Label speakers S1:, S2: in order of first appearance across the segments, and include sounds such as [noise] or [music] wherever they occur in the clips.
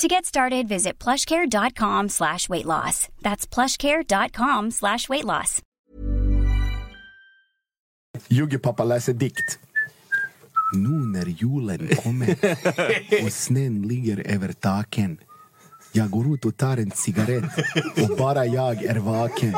S1: To get started, visit plushcare.com slash weight loss. That's plushcare.com slash weight loss.
S2: Jugge-pappa läser dikt. Nu när julen kommer och snön ligger över taken jag går ut och tar en cigarett och bara jag är vaken.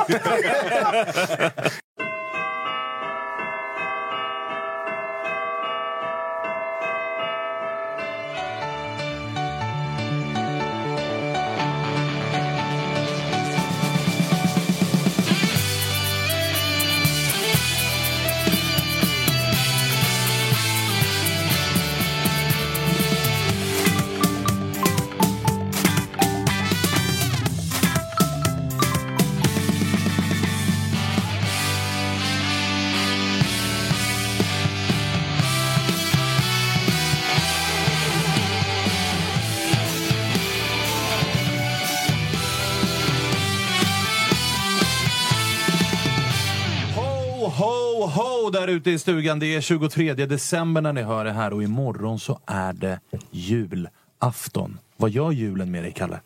S3: Ho, ho, ho där ute i stugan. Det är 23 december när ni hör det här och imorgon så är det julafton. Vad gör julen med dig, Kalle?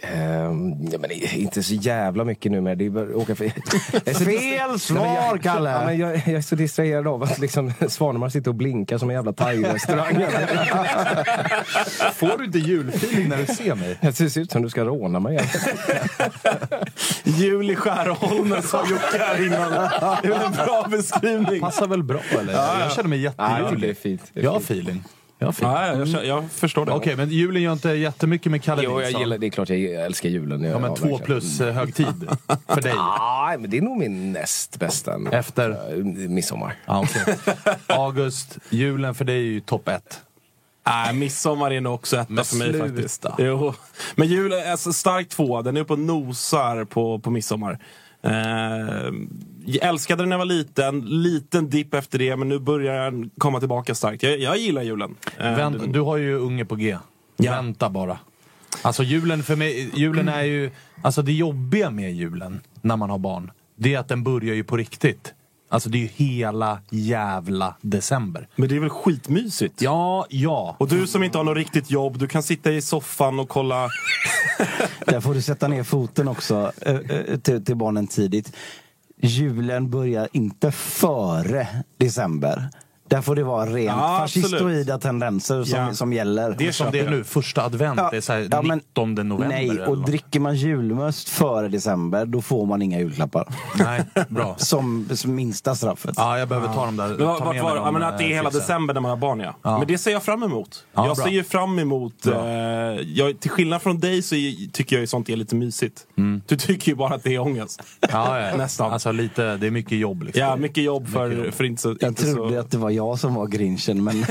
S4: Ehm, ja, men det är inte så jävla mycket nu med. Det är bara åka
S3: [laughs]
S4: för... Jag är så dis-
S2: Fel
S4: Nej, men
S2: svar,
S4: jag- Ja, men
S2: Kalle!
S4: jag, jag är så distraherad av att liksom, [laughs] Svanemar sitter och blinkar som en jävla thai-restaurang.
S3: [laughs] Får du inte julfeeling när du ser mig?
S4: Det ser ut som du ska råna mig.
S2: Jul i Skärholmen sa Jocke här innan. Det är väl en bra beskrivning.
S3: Passar väl bra, eller? Jag känner mig
S4: Nej, det är
S3: jättejulig.
S4: fint. Det är
S3: Jag har
S4: fint.
S3: feeling. Jag har feeling.
S5: Nej, jag, känner- jag förstår det.
S3: Okej, men julen gör inte jättemycket med Kalle
S4: Jo, jag
S3: Nilsson.
S4: gillar, det är klart jag älskar julen.
S3: Ja, men två
S4: verkligen.
S3: plus eh, högtid för dig.
S4: Nej, men det är nog min näst bästa.
S3: Efter?
S4: Eh, Midsommar.
S3: Ja, okej. [laughs] August, julen för dig är ju topp ett.
S5: Nej, Äh, midsommar är nog också etta
S3: Men
S5: för mig
S3: sluta.
S5: faktiskt. Jo. Men jul är alltså stark två. Den är uppe och nosar på, på midsommar. Eh, jag älskade den när jag var liten. Liten dipp efter det, men nu börjar den komma tillbaka starkt. Jag, jag gillar julen. Eh,
S3: Vänt, du har ju unge på G.
S5: Ja.
S3: Vänta bara. Alltså julen för mig, julen är ju... Alltså det jobbiga med julen när man har barn, det är att den börjar ju på riktigt. Alltså det är ju hela jävla december.
S5: Men det är väl skitmysigt?
S3: Ja, ja.
S5: Och du som inte har något riktigt jobb, du kan sitta i soffan och kolla.
S6: Där får du sätta ner foten också eh, eh, till, till barnen tidigt. Julen börjar inte före december. Där får det vara rent
S5: Ja, absolut.
S6: fascistoida tendenser som,
S5: Ja.
S6: som gäller.
S3: Det är som det är nu, första advent, det är så här
S6: Ja, men-
S3: 19 november.
S6: Nej,
S3: eller
S6: och
S3: något.
S6: dricker man julmust före december då får man inga julklappar.
S3: Nej, bra.
S6: [laughs] som, som minsta straffet.
S3: Ja, jag behöver ta dem där.
S5: Men
S3: ta
S5: vad-
S3: med
S5: vart
S3: mig
S5: var,
S3: dem,
S5: ja, men att det är
S3: eh,
S5: hela
S3: tipsen.
S5: december när man har barn ja.
S3: Ja.
S5: Men det ser jag fram emot.
S3: Ja,
S5: jag
S3: bra.
S5: ser ju fram emot... Eh,
S3: Bra.
S5: jag, till skillnad från dig så är- tycker jag ju sånt är lite mysigt. Du tycker ju bara att det är ångest.
S3: Ja, ja.
S5: Nästan.
S3: Alltså lite, det är mycket jobb liksom.
S5: Ja, mycket jobb för, för inte så...
S6: Jag
S5: inte
S6: trodde
S5: så...
S6: att det var jag som var
S5: [laughs]
S6: grinchen men...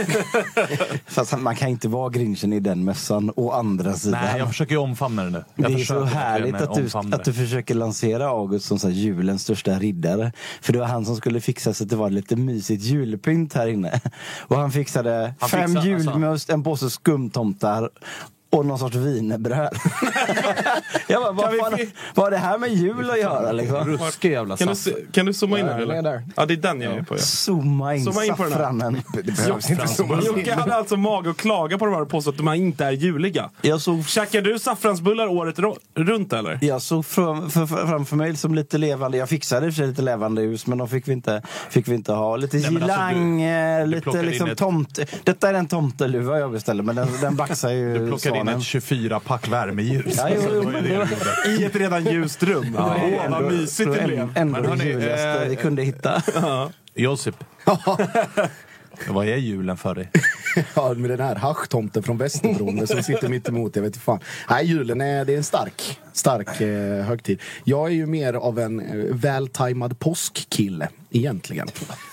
S6: Fast man kan inte vara grinchen i den mössan å andra sidan.
S3: Nej, jag försöker ju omfamna det nu. Jag
S6: det är
S3: försöker
S6: så härligt
S3: verkligen
S6: att du,
S3: omfamna
S6: att du försöker lansera August som så här julens största riddare. För det var han som skulle fixa så att det var lite mysigt julpynt här inne. Och han fixade
S3: Han
S6: fem
S5: alltså-
S3: fixade-
S6: julmust, en påse skumtomtar och någon sorts wienerbröd. [laughs] jag bara, vad,
S5: [laughs] Kan
S6: fan,
S5: vi-
S6: vad har det här med jul att göra liksom?
S3: Ruskig jävla
S5: Kan du,
S3: saft.
S5: se- kan du zooma in
S4: Ja,
S5: här eller?
S4: den är där.
S5: Ja, det är den jag är på. Ja.
S6: Zooma in,
S5: Zooma in på den här.
S6: saffranen.
S4: Det behövs inte så mycket.
S5: Jocke hade alltså mag att klaga på de här och påstå att de här inte är juliga.
S6: Jag såg
S5: Käkar du saffransbullar året ro- runt eller?
S6: Jag såg fram, för, för, framför mig som lite levande, jag fixade i och för sig lite levande hus men de fick vi inte, fick vi inte ha. Lite
S3: Nej, men alltså,
S6: girlang, eh,
S3: plockade
S6: lite
S3: in
S6: liksom
S3: ett-
S6: tomt... Detta är en tomteluva jag beställde men den, den baxar ju [laughs]
S3: Du plockade in
S6: svanen.
S3: ett 24-pack värmeljus.
S6: Ja, jo,
S3: Alltså, det var ju
S6: men
S3: det
S6: det
S3: du
S6: var-
S3: gjorde.
S5: I ett redan ljust rum. Åh, vad mysigt det
S6: ändå,
S5: blev.
S6: ändå
S3: Men
S6: det
S3: hörni,
S6: juligaste
S3: eh,
S6: vi kunde
S3: [laughs]
S6: hitta.
S3: Josip. Vad är julen för dig?
S2: Ja, med den här haschtomten från Västerbron som sitter mitt emot. Jag vet inte fan. Nej, julen är, det är en stark, stark eh, högtid. Jag är ju mer av en eh, vältajmad påskkille egentligen.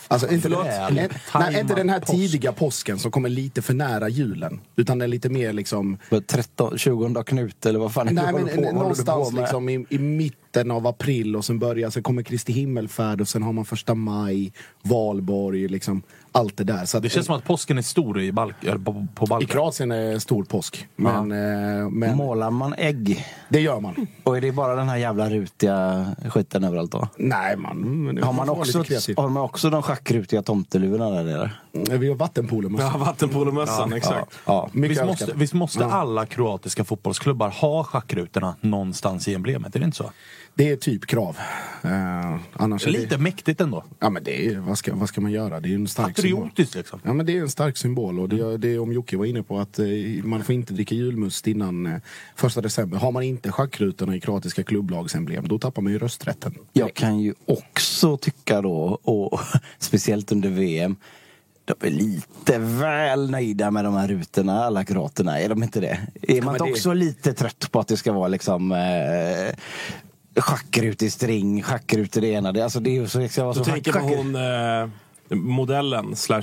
S2: Alltså inte,
S3: Förlåt?
S2: en, nej, inte den här tidiga påsken som kommer lite för nära julen. Utan den är lite mer liksom...
S6: 13, 20 Knut eller vad fan är det
S2: Nej,
S6: du
S2: men,
S6: håller på, håller du
S2: någonstans
S6: på med?
S2: liksom i, i mitten av april och sen börjar, sen kommer Kristi himmelfärd och sen har man första maj, valborg, liksom allt det där. Så att-
S3: Det känns som att påsken är stor i Balk- eller på, på
S2: i
S3: Balkan.
S2: Kroatien är stor påsk. Men, eh, men
S6: Målar man ägg?
S2: det gör man.
S6: Och är det bara den här jävla rutiga skiten överallt då?
S2: Nej, man, men det-
S6: Har man,
S2: får vara
S6: också,
S2: lite kreativ.
S6: har man också de schackrutiga tomteluvorna där nere?
S2: Mm, Vi har vattenpolo med
S5: Ja, vattenpolomössan, exakt.
S2: ja, mycket
S3: Visst
S2: överskattat.
S3: måste, visst måste alla kroatiska fotbollsklubbar ha schackrutorna någonstans i emblemet? Är det inte så?
S2: Det är typ krav. Eh, annars är
S3: Lite
S2: det,
S3: mäktigt ändå.
S2: ja, men det är, vad, ska, vad ska man göra? Det är ju en stark symbol.
S3: Patriotiskt liksom.
S2: Ja, men det är en stark symbol och det, det är om Jocke var inne på att eh, man får inte dricka julmust innan eh, första december. Har man inte schackrutorna i kroatiska klubblagsemblem då tappar man ju rösträtten.
S6: Jag kan ju också tycka då, och [laughs] speciellt under VM, de är lite väl nöjda med de här rutorna, alla kroaterna. Är de inte det? Är man
S2: men
S6: inte
S2: det-
S6: också lite trött på att det ska vara liksom eh, schackrutor i string, schackrutor i det ena? Det, alltså det är ju så, det ska vara
S5: Du
S6: så
S5: tänker på
S6: schack-
S5: hon eh, modellen slash...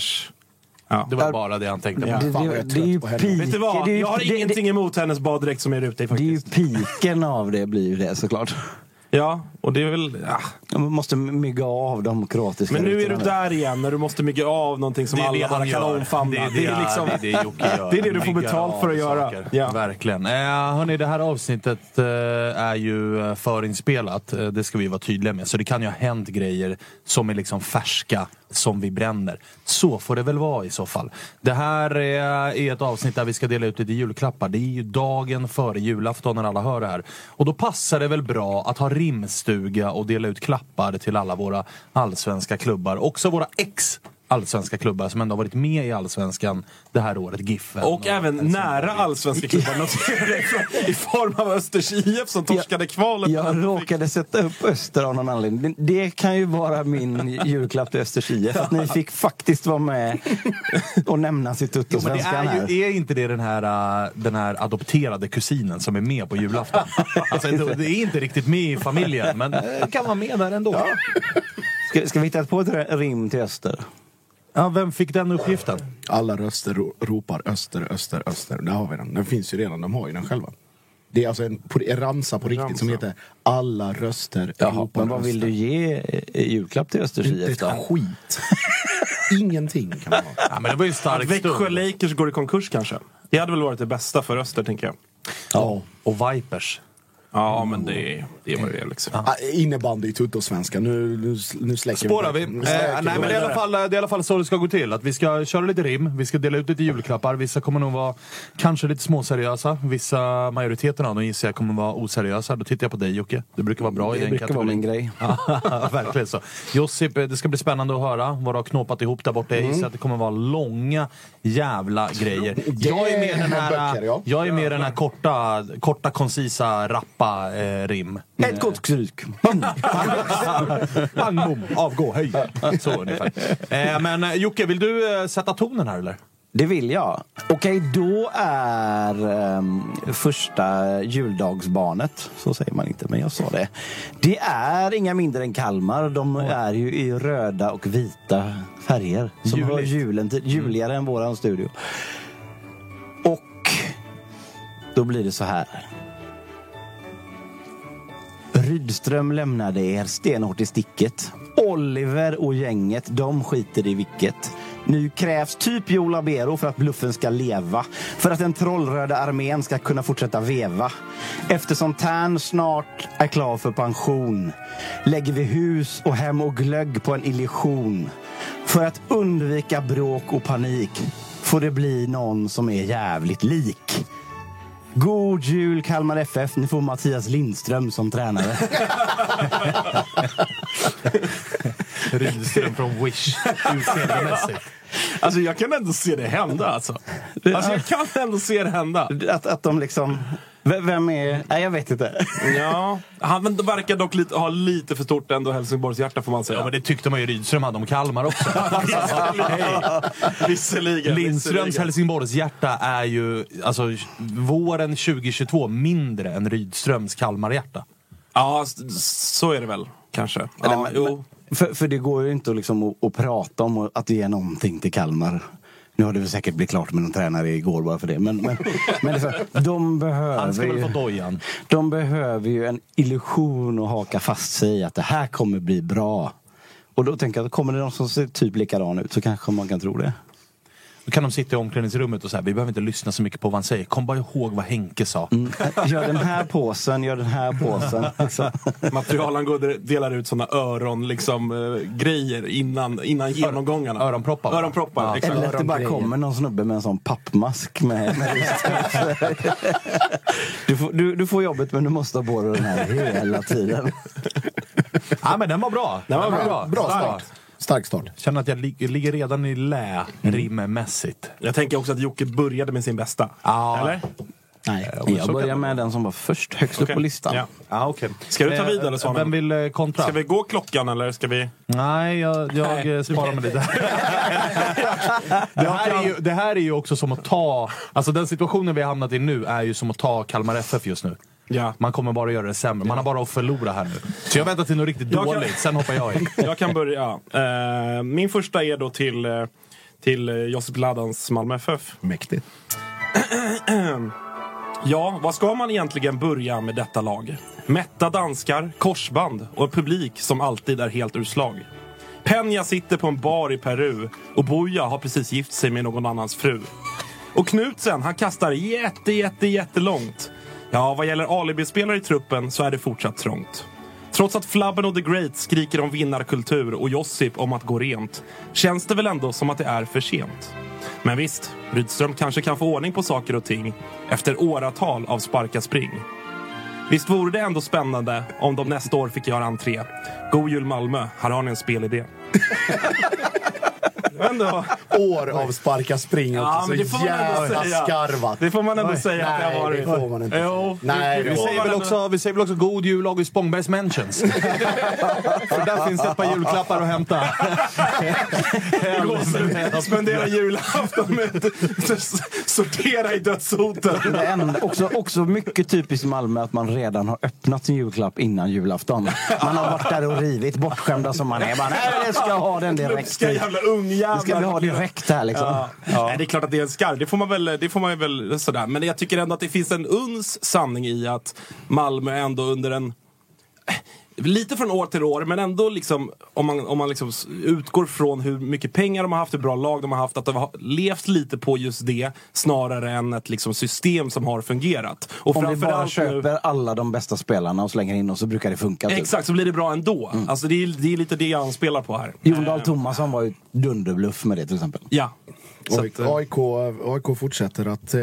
S5: Ja.
S3: Det var bara det han tänkte på.
S5: Ja.
S2: Fan,
S6: Det,
S2: vad jag
S6: det,
S2: är
S6: det är ju
S2: trött på henne.
S6: piken.
S5: Vet du vad?
S6: det är ju-
S5: Jag har
S6: det-
S5: ingenting emot hennes baddräkt som är rutig
S6: Det, det är ju
S5: faktiskt.
S6: piken av det blir ju det såklart.
S5: Ja, och det är väl... Ja.
S6: Man måste mygga av de kroatiska
S5: Men nu är du
S6: rutorna
S5: där igen när du måste mygga av någonting som
S3: Det är det
S5: alla bara
S3: han
S5: kan
S3: gör.
S5: omfamna. liksom-
S3: Det är det, det, är det Jocke gör.
S5: [laughs] Det är det du får
S3: Myggar
S5: betalt
S3: av
S5: för att göra.
S3: saker.
S5: Ja.
S3: Verkligen. Eh, hörni, det här avsnittet eh, är ju eh, förinspelat. Eh, det ska vi vara tydliga med. Så det kan ju ha hänt grejer som är liksom färska, som vi bränner. Så får det väl vara i så fall. Det här eh, är ett avsnitt där vi ska dela ut lite julklappar. Det är ju dagen före julafton när alla hör det här. Och då passar det väl bra att ha rimstuga och dela ut klappar till alla våra allsvenska klubbar. Också våra ex allsvenska klubbar som ändå har varit med i allsvenskan det här året. Giffen.
S5: Och även nära allsvenska [laughs] klubbar. noterar jag ifrån- I form av Östers IF som torskade kvalet.
S6: Jag råkade sätta upp Öster av någon anledning. Det kan ju vara min julklapp till Östers IF. Att ni fick faktiskt vara med och nämna sitt
S3: Men [laughs] det
S6: Tuttosvenskan
S3: är,
S6: här.
S3: ju, är inte det den här, äh, den här adopterade kusinen som är med på [laughs] julafton? Alltså, det det är inte riktigt med i familjen, [laughs] men äh, kan vara med där ändå. Ja.
S6: Ska, ska vi hitta på ett r- rim till Öster?
S3: vem fick den uppgiften?
S2: Alla röster ro- ropar öster, öster, öster. Där har vi den. Den finns ju redan, de har ju den själva. Det är alltså en, på- en ramsa på riktigt som heter Alla röster ropar
S6: men vad vill
S2: öster.
S6: du ge eh, julklapp till Östers
S2: Inte
S6: IF
S2: ett
S6: då?
S2: skit. [laughs] Ingenting kan man ha.
S3: [laughs] Ja, men det var ju en stark
S5: Växjö
S3: stund.
S5: Lakers går i konkurs kanske. Det hade väl varit det bästa för Öster, tänker jag.
S3: Ja. Och Vipers.
S5: Ja, men det, det var det är liksom.
S2: Ah, Innebandy i tuttosvenska. Nu, nu, nu släcker
S3: Spårar
S2: vi.
S3: vi. Eh, nej, men det är, i alla fall, det är i alla fall så det ska gå till. Att vi ska köra lite rim, vi ska dela ut lite julklappar. Vissa kommer nog vara kanske lite småseriösa. Vissa, majoriteten av dem gissar jag kommer vara oseriösa. Då tittar jag på dig Jocke. Du brukar vara bra i
S6: Det
S3: den
S6: brukar vara
S3: kategorin.
S6: min grej.
S3: Ja, [laughs] Verkligen så. Josip, eh, det ska bli spännande att höra vad du har knåpat ihop där borta. Jag gissar att det kommer vara långa jävla grejer. Jag är mer den här, eh,
S2: böcker, ja.
S3: jag är mer den här korta, korta koncisa, rappa eh, rim. [laughs]
S6: Ett gott stryk.
S3: Bang, bom, avgå, höj. Så ungefär. Eh, men eh, Jocke, vill du eh, sätta tonen här eller?
S6: Det vill jag. Okej, då är ehm, första juldagsbarnet, så säger man inte, men jag sa det. Det är inga mindre än Kalmar. De är ju i röda och vita färger. Som hör
S3: Juligt.
S6: julen till, juligare än våran studio. Och då blir det så här. Rydström lämnade er stenhårt i sticket. Oliver och gänget, de skiter i vilket. Nu krävs typ Joe Labero för att bluffen ska leva. För att den trollröda armén ska kunna fortsätta veva. Eftersom Tern snart är klar för pension lägger vi hus och hem och glögg på en illusion. För att undvika bråk och panik får det bli någon som är jävligt lik. God jul Kalmar FF. Ni får Mattias Lindström
S3: [laughs]
S6: som tränare.
S3: Rydström från Wish. Utseendemässigt.
S5: Alltså jag kan ändå se det hända alltså. Alltså jag kan ändå se det hända.
S6: att, att de liksom... V- Vem är... Nej, jag vet inte.
S5: Ja. Han verkar dock lite, ha lite för stort ändå Helsingborgs hjärta får man säga.
S3: Ja, men det tyckte man ju Rydström hade om Kalmar
S5: [laughs]
S3: också.
S5: Visserligen. Visserligen.
S3: Lindströms
S5: Visserligen.
S3: Helsingborgs hjärta är ju alltså, våren 2022 mindre än Rydströms Kalmarhjärta.
S5: Ja, s- så är det väl. Kanske.
S6: Eller,
S5: Ja,
S6: men-
S5: jo.
S6: För, för det går ju inte att, liksom, att, att prata om att ge någonting till Kalmar. Nu har det väl säkert blivit klart med någon tränare igår bara för det.
S3: [laughs]
S6: Men, men, men liksom, de
S3: Han
S6: behöver
S3: ska väl få
S6: ju...
S3: dojan.
S6: De behöver ju en illusion att haka fast sig i att det här kommer bli bra. Och då tänker jag, kommer det någon som ser typ likadan ut så kanske man
S3: [laughs]
S6: kan tro det.
S3: Då kan de sitta i omklädningsrummet och säga vi behöver inte lyssna så mycket på vad han säger. Kom bara ihåg vad Henke sa.
S6: Gör den här påsen, gör den här Mm. [laughs] påsen. Liksom.
S5: Materialen går delar ut såna öron liksom, eh, grejer innan, innan genomgångarna.
S3: öronproppar.
S5: Öronproppar,
S3: Ja.
S5: exakt.
S6: Eller att det
S3: [laughs]
S6: bara kommer någon snubbe med en sån pappmask med, med [laughs] du, får, du, du får jobbet men du måste ha på dig den här hela tiden.
S3: Ja, men den var bra. Den var bra.
S2: Bra
S3: Stark.
S2: start. Stark start.
S3: Känner att jag lig- ligger redan i lä rimmässigt.
S5: Jag tänker också att Jocke började med sin bästa.
S3: Ja.
S5: Eller?
S6: Nej,
S3: men
S6: jag
S3: så
S6: börjar
S3: kan det
S6: med den som var först, högst upp
S5: Okej.
S6: på listan.
S5: Ja.
S3: Ah, okay.
S5: Ska du ta vidare, Svanen?
S3: Vem vill eh, kontra?
S5: Ska vi gå klockan eller ska vi...
S3: Nej, jag, jag eh, sparar mig lite.
S5: [laughs]
S3: det, här är ju, det här är ju också som att ta... Alltså den situationen vi har hamnat i nu är ju som att ta Kalmar FF just nu.
S5: Ja.
S3: Man kommer bara göra det sämre. Man har bara att förlora här nu. Så jag väntar till något riktigt
S5: Jag kan-
S3: dåligt, sen hoppar jag in.
S5: [laughs] Jag kan börja. Eh, min första är då till, eh, till eh, Josip Ladans Malmö FF.
S2: Mäktigt.
S5: [clears throat] Ja, vad ska man egentligen börja med detta lag? Mätta danskar, korsband och en publik som alltid är helt ur slag. Peña sitter på en bar i Peru och Boja har precis gift sig med någon annans fru. Och Knutsen, han kastar jätte, jätte, jättelångt. Ja, vad gäller alibispelare i truppen så är det fortsatt trångt. Trots att Flabben och The Great skriker om vinnarkultur och Josip om att gå rent känns det väl ändå som att det är för sent. Men visst, Rydström kanske kan få ordning på saker och ting efter åratal av sparka spring. Visst vore det ändå spännande om de nästa år fick göra entré. God jul Malmö, här har ni en spelidé. Men då,
S2: År av sparka spring
S5: Ja,
S2: också.
S5: men det får
S2: så
S5: man ändå säga.
S2: jävla skarvat.
S5: det får man ändå säga att det
S2: Nej,
S5: har
S2: det
S5: varit.
S2: får man inte.
S5: Jo,
S2: Nej, det
S5: vi- vi
S2: får
S3: Vi
S5: säger
S3: säger, väl
S5: väl också...
S3: också, vi säger väl också god jul August Spångbergs
S5: [laughs]
S3: Mentions. För där finns det ett par julklappar att hämta. Helvete.
S5: Spendera julafton med att sortera i dödshoten.
S6: Det enda, också, också mycket typiskt Malmö att man redan har öppnat sin julklapp innan julafton. Man har varit där och rivit, bortskämda som man är. Bara, Nej, jag ska ha den direkt.
S5: Ska jävla ungjävlar.
S6: Nu ska vi ha direkt här [laughs] liksom.
S5: Ja. Nej, det är klart att det är en skarv. Det får man väl, det får man väl sådär. Men jag tycker ändå att det finns en uns sanning i att Malmö ändå under en Lite från år till år, men ändå liksom, om man, om man liksom s- utgår från hur mycket pengar de har haft, hur bra lag de har haft, att de har levt lite på just det snarare än ett liksom system som har fungerat. Och
S6: Om vi bara
S5: framförallt nu-
S6: köper alla de bästa spelarna och slänger in dem så brukar det funka. Typ.
S5: Exakt, så blir det bra ändå. Alltså, det, är, det är lite det jag anspelar på här. Eh,
S6: Jon Dahl Tomasson var ju dunderbluff med det till exempel.
S5: Ja. Så
S2: AIK,
S5: att, eh,
S2: AIK, AIK fortsätter att eh,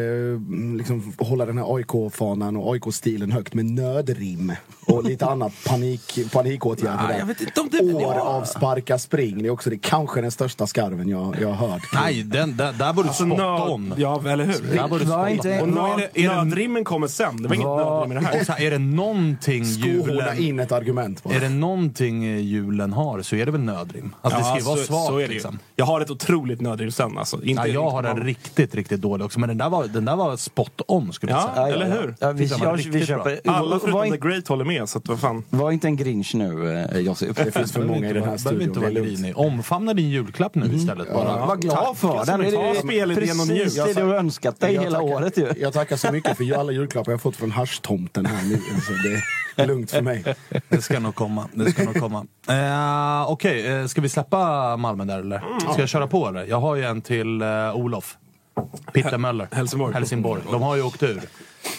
S2: liksom hålla den här AIK-fanan och AIK-stilen högt med nödrim och lite annat panik, panikåtgärder.
S5: Ja,
S2: där.
S5: jag vet inte om det-
S2: År
S5: ja.
S2: av sparka spring, det är också det, kanske den största skarven jag, jag har hört.
S3: Nej, den, där, där borde du
S5: alltså,
S3: spotta
S5: nöd,
S3: om.
S5: ja, eller hur?
S3: Där borde du
S6: Var
S3: spotta
S6: inte-
S5: Och
S3: om.
S5: nu
S3: Och
S5: är det, är det, nödrimmen kommer sen. Det var inget nödrim i det här.
S3: så här, är det någonting
S2: Skohorna
S3: julen...
S2: in ett argument bara.
S3: Är det någonting eh, julen har så är det väl nödrim. Alltså det ska ju vara svagt
S5: är det ju.
S3: liksom.
S5: Jag har ett otroligt nödrim sen alltså. Inte
S3: Ja, jag har den
S5: riktigt
S3: riktigt, riktigt dålig också. Men den där var, den där var spot on skulle
S5: typ. Ja,
S3: jag säga.
S5: eller hur?
S6: Ja, vi,
S3: Tyckte han var
S6: jag, vi
S3: riktigt
S6: köper.
S5: bra. Alla
S6: var,
S5: förutom
S6: inte,
S5: The Great håller med, så att vad fan.
S6: var inte en grinch nu, eh, Josip.
S2: Det finns för många i den här
S3: Behöver
S2: studion.
S3: inte
S2: Det är
S3: vara
S2: lugnt.
S3: grinig. Omfamna din julklapp nu istället bara.
S6: Var Mm. glad för den.
S5: mycket.
S6: Det
S5: Ta spelet genom ljus.
S6: precis det du har önskat dig
S2: Jag
S6: hela
S2: tackar-
S6: året ju.
S2: Jag tackar så mycket för alla julklappar jag fått från haschtomten här nu. Alltså det, Lugnt för mig.
S3: Det ska nog komma. Det ska nog komma. Eh, Okej, eh, ska vi släppa Malmö där eller?
S5: Mm.
S3: Ska jag köra på eller? Jag har ju en till eh, Olof. Pitta Möller.
S5: Helsingborg.
S3: Helsingborg. De har ju åkt ur.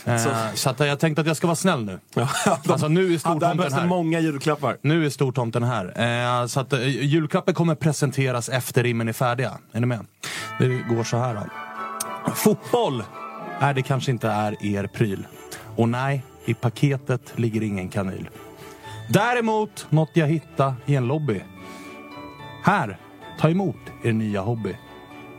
S3: Eh, så att jag tänkte att jag ska vara snäll nu.
S5: Ja, [laughs] de-
S3: Alltså nu är
S5: Ja, där
S3: stortomten
S5: behövs det
S3: här.
S5: många julklappar.
S3: Nu är stortomten här. Eh, så att, eh, julklappen kommer presenteras efter rimmen är färdiga. Är ni med? Det går så här då. Fotboll! Nej, det kanske inte är er pryl. Och nej, i paketet ligger ingen kanyl. Däremot något jag hitta i en lobby. Här, ta emot er nya hobby.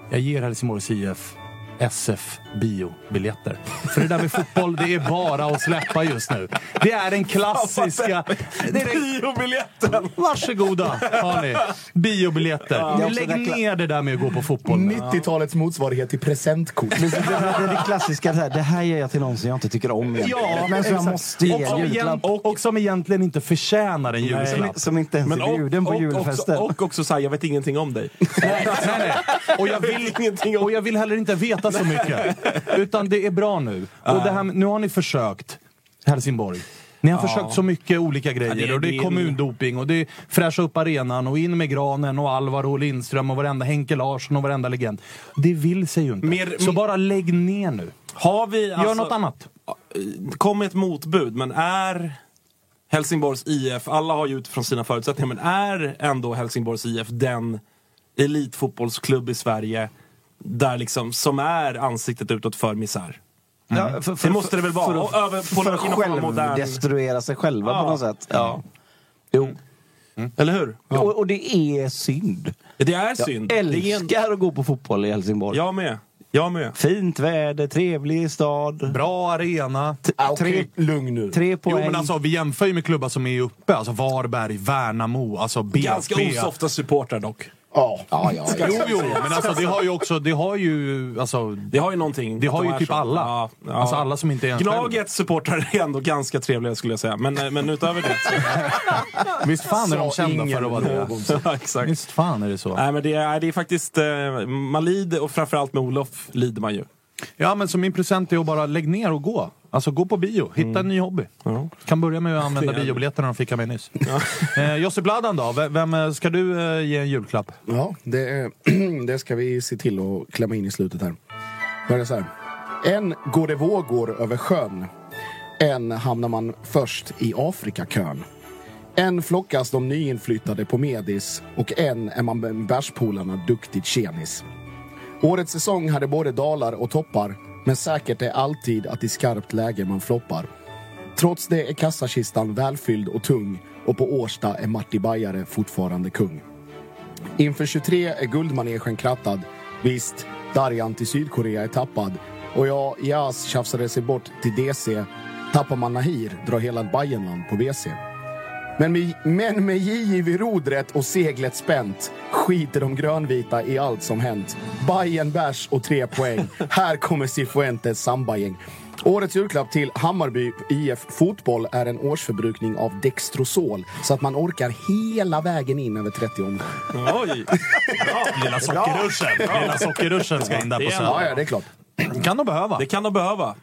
S3: Jag ger Helsingborgs IF SF biobiljetter. För det där med fotboll, det är bara att släppa just nu. Det är den klassiska... Det är den
S5: Biobiljetten!
S3: Varsågoda, har ni. Biobiljetter.
S6: också
S3: Lägg
S6: reklam-
S3: ner det där med att gå på fotboll nu.
S2: 90-talets motsvarighet till presentkort.
S6: Det, det, det, det klassiska, det här, det här ger jag till någon som jag inte tycker om. egentligen.
S3: Ja,
S6: men som jag
S3: exakt.
S6: måste ge
S3: och, som
S6: en julklapp.
S3: egent- och, och som egentligen inte förtjänar en
S6: Som,
S3: julklapp.
S6: som inte ens är bjuden på julfester.
S5: också, och också såhär, jag vet ingenting om dig.
S3: Nej, nej, nej. Och, jag
S6: [laughs]
S3: vill,
S5: Ingenting om-
S3: och jag vill heller inte veta så mycket. Utan det är bra nu. Och det här, med- nu har ni försökt Helsingborg. Ni har försökt så mycket olika grejer.
S5: Ja, det är-
S3: och det
S5: det
S3: är
S5: är-
S3: kommundoping och det är fräscha upp arenan och in med Granen och Alvaro och Lindström och varenda Henke Larsson och varenda legend. Det vill sig ju inte.
S5: Mer-
S3: så bara lägg ner nu.
S5: Har vi
S3: Gör
S5: alltså-
S3: något annat.
S5: kom ett motbud, men är Helsingborgs IF, alla har ju utifrån sina förutsättningar, men är ändå Helsingborgs IF den elitfotbollsklubb i Sverige där liksom, som är ansiktet utåt för misär?
S6: Mm.
S3: Mm.
S6: Ja, för,
S5: Det måste det väl vara?
S6: För
S5: Och över- på
S6: för
S5: någon-
S6: att
S5: inom någon modern-
S6: självdestruera sig själva
S5: Ja.
S6: på något sätt. Ja. Jo.
S5: Mm. Eller hur?
S6: Och, och det är synd.
S5: Det är
S6: Jag
S5: synd. Det är en-
S6: älskar att gå på fotboll i Helsingborg.
S5: Jag med. Jag med.
S6: Fint väder, trevlig stad.
S3: Bra arena.
S6: T-
S2: Ah,
S6: tre,
S2: Okej, lugn nu.
S6: tre
S3: Jo
S6: poäng.
S3: men alltså vi jämför ju med klubbar som är uppe. Alltså Varberg, Värnamo, alltså BP.
S5: Ganska osofta supportrar dock.
S2: Ja.
S6: ja, ja, ja.
S3: Jo, jo, men alltså det har ju också, det har ju, alltså
S5: Det har ju någonting.
S3: Det har
S5: De
S3: ju
S5: är
S3: typ
S5: så.
S3: alla.
S5: Ja, ja.
S3: Alltså alla som inte är en
S5: Gnagets supportrar är ändå ganska trevliga skulle jag säga. Men, eh, men utöver det så...
S3: själv. [laughs] Visst fan är de
S2: Sa
S3: kända
S2: ingen
S3: för att vara det?
S2: någonsin.
S5: Ja, exakt.
S3: Visst fan är det så?
S5: [laughs] Nej men det är, det är faktiskt, eh, man lider och framförallt med Olof lider man ju.
S3: Ja men så min present är att bara lägg ner och gå. Alltså gå på bio, hitta en ny hobby. Kan börja med att använda
S5: Det är-
S3: biobiljetterna de fick av mig nyss. [laughs] eh, Jussi Bladan då, V- vem eh, ska du eh, ge en julklapp?
S2: Ja, det, är- [clears throat] det ska vi se till att klämma in i slutet här. Börjar så här. En går det vågor över sjön. En hamnar man först i Afrikakön. En flockas de nyinflyttade på Medis och en är man med bärspolarna duktigt tjenis. Årets säsong hade både dalar och toppar men säkert är alltid att i skarpt läge man floppar. Trots det är kassakistan välfylld och tung och på Årsta är Martti Bajare fortfarande kung. Inför 23 är guldmanegen krattad. Visst, Darjan till Sydkorea är tappad. Och ja, Jas tjafsade sig bort till DC. Tappar man Nahir drar hela Bayernland på WC. Men med, men med JJ vid rodret och seglet spänt skiter de grönvita i allt som hänt. Bayern bärs och tre poäng. Här kommer Cifuentes sambagäng. Årets julklapp till Hammarby IF Fotboll är en årsförbrukning av Dextrosol så att man orkar hela vägen in över 30 omgångar.
S5: Oj!
S3: Lilla sockerruschen! Lilla sockerruschen ska in där på
S5: Det är-
S3: Söder.
S2: Ja, ja, det är klart.
S3: Kan de behöva.
S5: Det kan de behöva.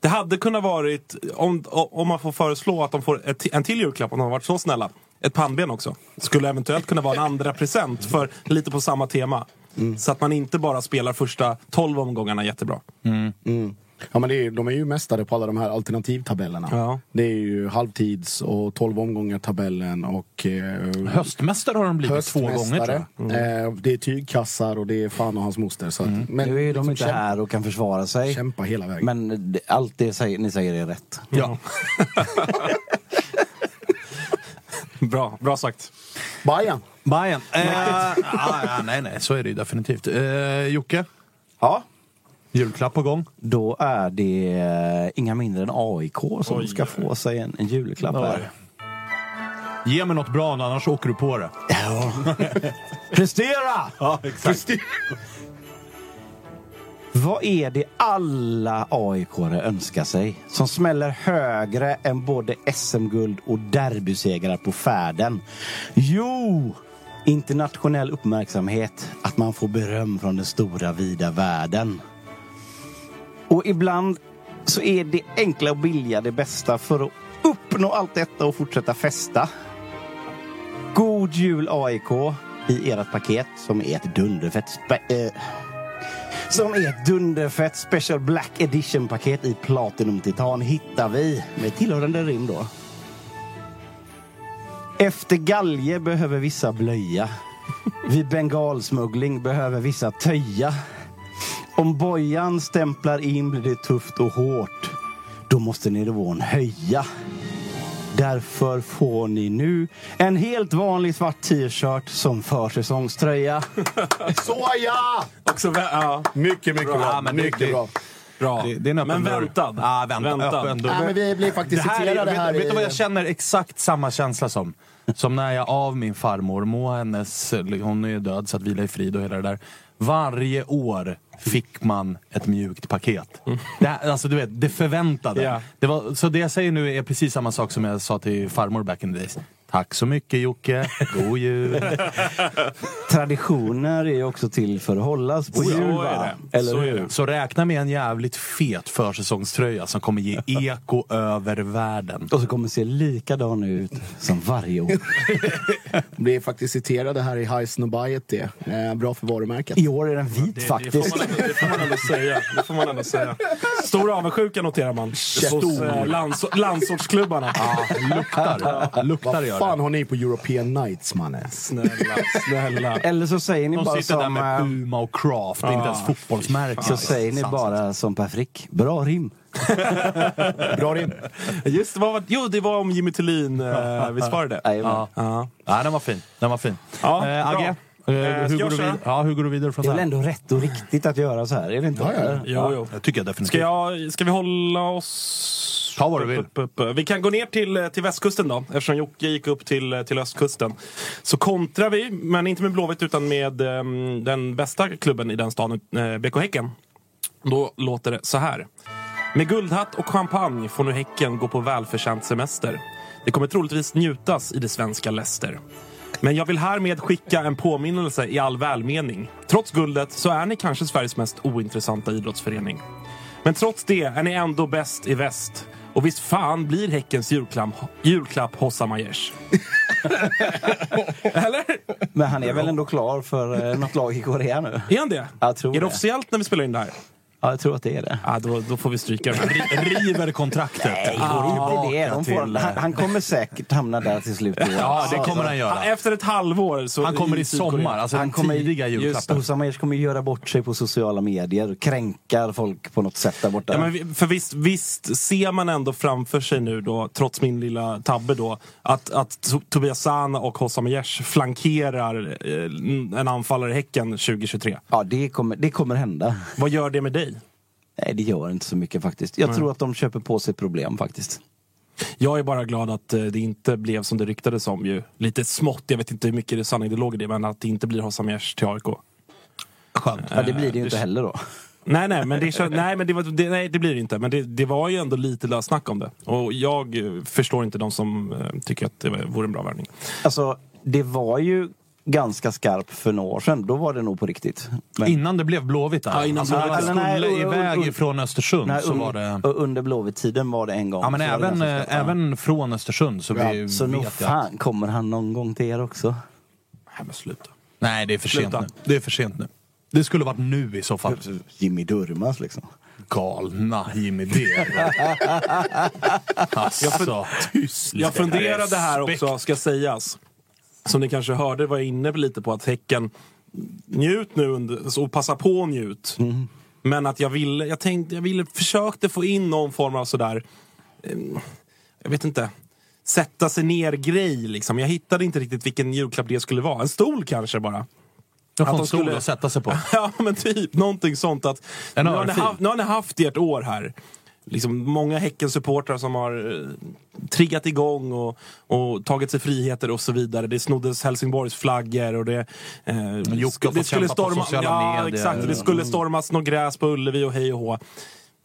S5: Det hade kunnat varit, om, om man får föreslå att de får ett, en till julklapp om de har varit så snälla. Ett pannben också. Skulle eventuellt kunna vara en andra present för lite på samma tema.
S2: Mm.
S5: Så att man inte bara spelar första 12 omgångarna jättebra.
S2: Mm. Ja, men det är, ju- de är ju mästare på alla de här alternativtabellerna.
S5: Ja.
S2: Det är ju halvtids och 12 omgångar-tabellen och... Eh,
S3: Höstmästare har de blivit två gånger tror jag.
S2: höstmästare.
S5: Mm.
S2: eh, det är tygkassar och det är fan och hans moster. Så att, men,
S6: Mm. Nu är de
S2: liksom
S6: inte
S2: kämp-
S6: här och kan försvara sig.
S2: Kämpa hela vägen.
S6: Men det- allt det säger, ni säger är rätt.
S3: Ja.
S5: Mm. Bra, bra sagt.
S2: Bajan!
S3: Bajen. Eh, [laughs] ah, ah, nej, nej, så är det ju definitivt. Eh, Jocke,
S6: Ja.
S3: julklapp på gång.
S6: Då är det eh, inga mindre än AIK som ska få sig en, en julklapp här.
S3: Ge mig något bra, annars åker du på det. [laughs]
S6: Prestera! Vad är det alla aik önskar sig? Som smäller högre än både SM-guld och derbysegrar på färden. Jo! Internationell uppmärksamhet. Att man får beröm från den stora vida världen. Och ibland så är det enkla och billiga det bästa för att uppnå allt detta och fortsätta festa. God jul AIK i ert paket som är ett dunderfett spe- eh, som är ett dunderfett Special Black Edition-paket i Platinum Titan hittar vi med tillhörande rim då. Efter galge behöver vissa blöja. Vid bengalsmuggling behöver vissa töja. Om bojan stämplar in blir det tufft och hårt. Då måste nivån höja. Därför får ni nu en helt vanlig svart t-shirt
S3: [laughs]
S6: som försäsongströja.
S2: Såja!
S5: Också vä- ja.
S2: Mycket, mycket bra.
S3: Ja, men
S2: mycket
S3: det-
S2: bra.
S5: Bra.
S3: Det, det är en öppen
S5: men
S3: dörr.
S5: väntad.
S3: Ja, väntad.
S5: Väntad.
S3: Öppen dörr.
S2: Nej, men vi blir faktiskt
S3: Det här är,
S2: citerade här.
S3: vet, vet du vad jag
S2: i-
S3: känner exakt samma känsla som? Som när jag av min farmor, må hennes, hon är död så att vila i frid och hela det där. Varje år fick man ett mjukt paket. Det, här- alltså du vet, det förväntade.
S5: Ja.
S3: Det var, så det jag säger nu är precis samma sak som jag sa till farmor back in the days. Tack så mycket Jocke, god jul.
S6: Traditioner är ju också till för att hållas på
S5: Så
S6: jul
S5: är
S6: va?
S5: det.
S6: Eller
S5: Så är
S6: hur?
S5: det.
S3: Så räkna med en jävligt fet försäsongströja som kommer
S5: [laughs]
S3: ge eko över världen.
S6: Och så kommer se likadan ut som
S2: [laughs]
S6: varje år.
S2: Blir faktiskt citerade här i High Snobiety. Eh, bra för varumärket.
S6: I år är den vit
S5: Det
S6: faktiskt.
S5: får, man ändå, det, får man ändå säga. det får man ändå säga. Stor avundsjuka noterar man. Hos eh, lands, landsortsklubbarna.
S3: Luktar, luktar
S2: Vad
S3: gör
S2: fan
S3: det.
S2: har ni på European Nights mannen?
S5: Snälla, snälla.
S6: Eller så säger ni bara
S3: De sitter där
S6: som...
S3: med
S6: eh,
S3: Puma och Craft, inte ens fotbollsmärken.
S6: Så säger ni bara som Per Frick. Bra rim.
S2: Bra rim.
S5: Just det, vad var, jo, det var om Jimmy Tillin eh, vi svarade.
S6: Jajamän.
S3: Ja. Ja. den var fin. Den var fin.
S5: Ja,
S3: eh, Agge,
S5: bra.
S3: eh,
S5: Eh, ska
S3: hur,
S5: jag
S3: går du
S5: köra?
S3: vid- ja, hur går du vidare från
S6: Det är
S3: det
S6: väl
S3: här?
S6: ändå rätt och riktigt att göra så här? Är det inte?
S2: Ja, ja.
S5: Jo, jo.
S3: Jag tycker jag definitivt.
S5: Ska, jag, ska vi hålla oss...
S3: Ta vad du vill.
S5: Upp, upp, upp. Vi kan gå ner till, till västkusten då, eftersom Jocke gick upp till, till östkusten. Så kontrar vi, men inte med Blåvitt utan med ehm, den bästa klubben i den staden, eh, BK Häcken. Då låter det så här. Med guldhatt och champagne får nu Häcken gå på välförtjänt semester. Det kommer troligtvis njutas i det svenska Leicester. Men jag vill härmed skicka en påminnelse i all välmening. Trots guldet så är ni kanske Sveriges mest ointressanta idrottsförening. Men trots det är ni ändå bäst i väst. Och visst fan blir Häckens julklapp, julklapp Hossa Majers. Eller?
S6: Men han är väl ändå klar för eh, något lag i Korea nu?
S5: Är han det?
S6: Jag tror
S5: är det
S6: det.
S5: officiellt när vi spelar in det här?
S6: Ja, jag tror att det är det.
S5: Ja, då, då får vi stryka den här.
S3: River kontraktet.
S6: Nej,
S3: Ah,
S6: det är det. De får,
S3: till-
S6: han, han kommer säkert hamna där till slut. i år.
S3: Ja, det kommer han göra.
S5: Efter ett halvår så...
S3: Han kommer i sommar, alltså
S6: Han
S3: den
S6: kommer i-
S3: tidiga julklappen.
S6: Hossam Majers kommer ju göra bort sig på sociala medier. Kränkar folk på något sätt där borta.
S5: Ja, men vi- för visst, visst ser man ändå framför sig nu då, trots min lilla tabbe då, att, att To- Tobias Sana och Hossam Majers flankerar eh, en anfallare i Häcken 2023.
S6: Ja, det kommer, det kommer hända.
S5: Vad gör det med dig?
S6: Nej, det gör inte så mycket faktiskt. Jag tror att de köper på sig problem faktiskt.
S5: Jag är bara glad att eh, det inte blev som det ryktades om ju. Lite smått, jag vet inte hur mycket det sanning det låg i det, men att det inte blir Hossam Ers till AIK.
S3: Skönt.
S6: Ja, det blir det ju inte heller då.
S5: Eh, [laughs] Nej, nej, men det, kän- nej, men det, var, det, nej, det blir det inte. Men det, det var ju ändå lite löst snack om det. Och jag eh, förstår inte de som eh, tycker att det vore en bra värvning.
S6: Alltså, det var ju ganska skarp för några år sedan. Då var det nog på riktigt. Men-
S3: Innan det blev Blåvitt där.
S5: Ja, innan
S3: alltså,
S5: Blåvitt.
S3: när det
S6: Eller nej,
S3: skulle
S6: och- och-
S3: iväg
S6: och-
S3: ifrån Östersund
S6: Nej,
S3: så
S6: un-
S3: var det...
S6: och Under Blåvitt-tiden var det en gång.
S3: Ja, men
S6: så var det
S3: även,
S6: ganska skarpt.
S3: eh, även från Östersund så
S6: Ja,
S3: vi
S6: så nog
S3: vet jag.
S6: fan kommer han någon gång till er också.
S5: Nej, men sluta.
S3: Nej, det är för sent
S5: Sluta.
S3: nu. Det är för sent nu. Det skulle varit nu i så fall.
S6: Jimmy Durmas liksom.
S3: Galna Jimmy D.
S6: [laughs]
S3: alltså, tyst.
S5: Jag funderade här också, ska sägas. Som ni kanske hörde var jag inne på lite på att Häcken, njut nu under, och passa på och njut. Men att jag ville, jag tänkte, jag ville, försökte få in någon form av sådär, eh, jag vet inte, sätta sig ner-grej liksom. Jag hittade inte riktigt vilken julklapp det skulle vara. En stol kanske bara.
S3: Jag
S5: Att
S3: får
S5: de
S3: en stol
S5: skulle-
S3: att sätta sig på.
S5: [laughs] Ja men typ, någonting sånt att
S3: En
S5: nu har, ni
S3: örfil.
S5: haft, nu har ni haft ert år här. Liksom många Häckensupportrar som har eh, triggat igång och, och tagit sig friheter och så vidare. Det snoddes Helsingborgs flaggor och det... Eh,
S3: Jocke har fått kämpa på sociala
S5: ja,
S3: medier.
S5: Exakt, det skulle stormas något gräs på Ullevi och hej och hå.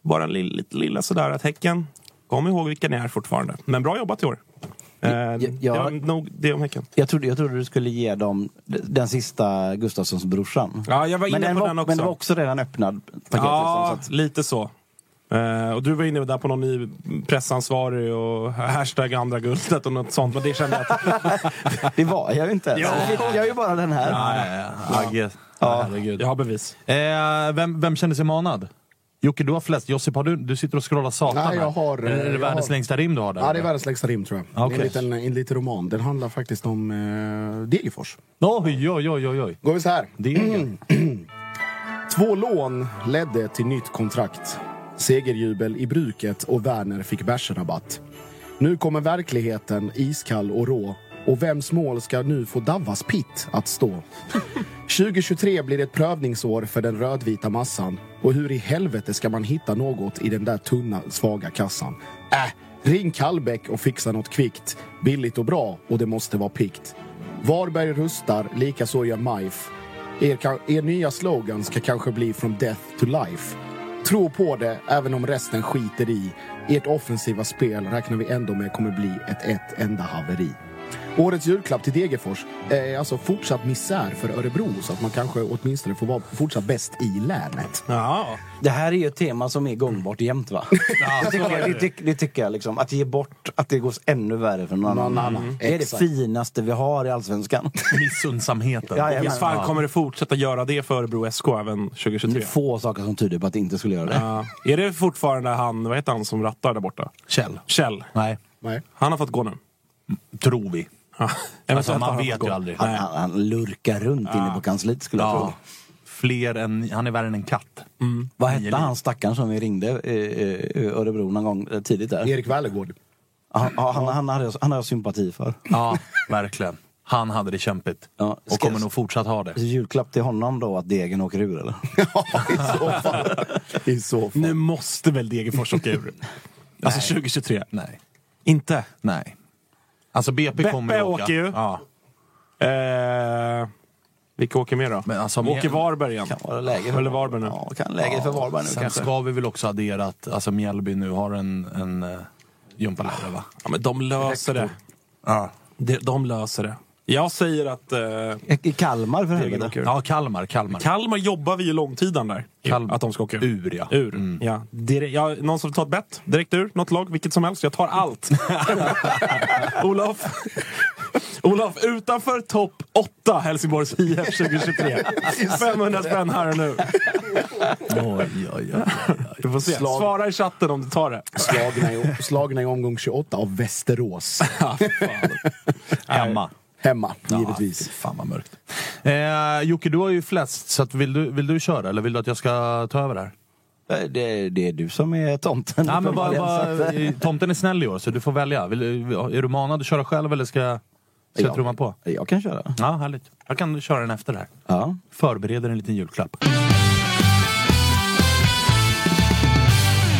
S5: Bara en lilla, lilla sådär att Häcken, kom ihåg vilka ni är fortfarande. Men bra jobbat i år. Eh, Det var nog det om Häcken.
S6: Jag trodde, jag trodde du skulle ge dem d- den sista Gustafssons brorsan.
S5: Ja, jag var inne
S6: men
S5: på
S6: var,
S5: den också.
S6: Men det var också redan öppnad paket.
S5: Ja,
S6: Liksom, så att,
S5: lite så. Eh, och du var inne där på någon ny pressansvarig och hashtag andra guldet och något sånt. Men det kände jag att...
S6: Det var jag ju inte. Ja. Jag är ju bara den här.
S3: Nej, Agge.
S6: Ja.
S3: Herregud.
S5: Jag har bevis.
S3: Eh, vem, vem känner sig manad? Jocke, du har flest. Josip, har du, du sitter och scrollar satan
S2: Nej, jag har,
S3: här. Är det- Är det
S2: jag
S3: världens
S2: har-
S3: längsta rim du har där?
S2: Ja, det är världens längsta rim tror jag.
S3: Okej.
S2: En, liten, en liten roman. Den handlar faktiskt om eh, Degerfors.
S3: Oj, oj, oj, oj, oj.
S2: Går vi så här.
S3: Det är
S2: [clears throat] Två lån ledde till nytt kontrakt. Segerjubel i bruket och Werner fick bärsrabatt. Nu kommer verkligheten iskall och rå. Och vems mål ska nu få Davvas pitt att
S3: [laughs]
S2: stå? 2023 blir ett prövningsår för den rödvita massan. Och hur i helvete ska man hitta något i den där tunna, svaga kassan? Äh, ring Kallbäck och fixa något kvickt. Billigt och bra och det måste vara pikt. Varberg rustar, likaså gör MIF. Er, ka- er nya slogan ska kanske bli From Death to Life. Tro på det, även om resten skiter i. Ert offensiva spel räknar vi ändå med kommer bli ett ett enda haveri. Årets julklapp till Degerfors är alltså fortsatt misär för Örebro så att man kanske åtminstone får vara fortsatt bäst i länet.
S5: Ja.
S6: Det här är ju ett tema som är gångbart jämt va? det, tycker jag, det, tyck- det tycker jag liksom. Att ge bort, att det går ännu värre för någon
S2: Någon
S6: annan.
S2: annan.
S6: Det är
S2: Exakt.
S6: det finaste vi har i Allsvenskan.
S3: Missundsamheten.
S6: [laughs] [laughs] Ja, ja.
S5: Yes, fan kommer det fortsätta göra det för Örebro SK även
S6: Det
S5: 2023?
S6: är få saker som tyder på att det inte skulle göra det.
S5: Ja. Är det fortfarande han, vad heter han som rattar där borta?
S3: Kjell.
S5: Kjell.
S3: Nej,
S2: Nej.
S5: Han har fått gå nu.
S3: tror vi.
S5: Ja.
S3: Alltså,
S5: Eventuellt har
S3: man
S5: han fått
S3: vet
S5: gå.
S3: ju aldrig.
S6: Han, han, han lurkar runt inne på kansliet skulle jag tro.
S3: Ja. Fler än, han är värre än en katt.
S6: Mm. Vad hette han stackaren som vi ringde eh, eh, Örebro någon gång eh, tidigt där?
S2: Erik Wällegård.
S6: Han, han, han, hade, jag- han hade jag sympati för.
S3: Ja, verkligen. Han hade det kämpigt.
S6: Ja,
S3: och
S6: ska-
S3: kommer nog fortsatt ha det.
S6: Så Julklapp
S3: [laughs]
S6: till honom då att degen åker ur eller?
S2: I så fall. I så fall.
S5: Nu måste väl Degerfors åka
S6: [laughs]
S5: ur? alltså 2023.
S3: Nej.
S5: Inte?
S3: Nej. Alltså BP
S5: Beppe
S3: kommer ju åka.
S5: åker ju.
S3: Ja.
S5: Eh, vilka åker med då?
S3: Men alltså,
S5: åker
S3: men-
S5: Varberg igen?
S6: Kan vara läge för,
S5: Eller Varberg nu.
S6: Ja, kan läge för Varberg nu
S3: Sen
S6: kanske.
S3: ska vi väl också addera att alltså, Mjällby nu har en, en uh, gympalärare va?
S5: Ja, men de löser det.
S3: Ja.
S5: De, de löser det. Jag säger att eh,
S6: I Kalmar för
S5: Degen
S6: helvete.
S5: åker ur.
S3: Ja, Kalmar. Kalmar.
S5: Kalmar jobbar vi ju långtiden där.
S3: Kalmar.
S5: Att de ska åka ur.
S3: Ur ja. Mm.
S5: Ur. Ja. Direkt, ja, någon som vill ta ett bett? Direkt ur? Något lag? Vilket som helst? Jag
S3: [laughs]
S5: tar allt. Olof. Olof, utanför topp 8 Helsingborgs IF 2023. 500 spänn här och nu.
S3: Oj, oj, oj.
S5: Du får se.
S2: Slag.
S5: Svara i chatten om du tar det.
S2: Slagna i, slagna i omgång 28 av Västerås.
S3: Emma.
S2: Hemma,
S3: Ja,
S2: givetvis.
S3: fy fan vad mörkt. Eh, Jocke, du har ju flest, så att vill, du, vill du köra eller vill du att jag ska ta över det här?
S6: Eh, Det, det är du som är tomten.
S3: Ja, men bara,
S6: uppenbarligen.
S3: bara, eh, tomten är snäll i år, så du får välja. Vill, är du manad att köra själv eller ska, ska jag trumma på?
S6: Jag kan köra.
S3: Ja, härligt. Jag kan köra den efter det här.
S6: Ja.
S3: Förbereder en liten julklapp.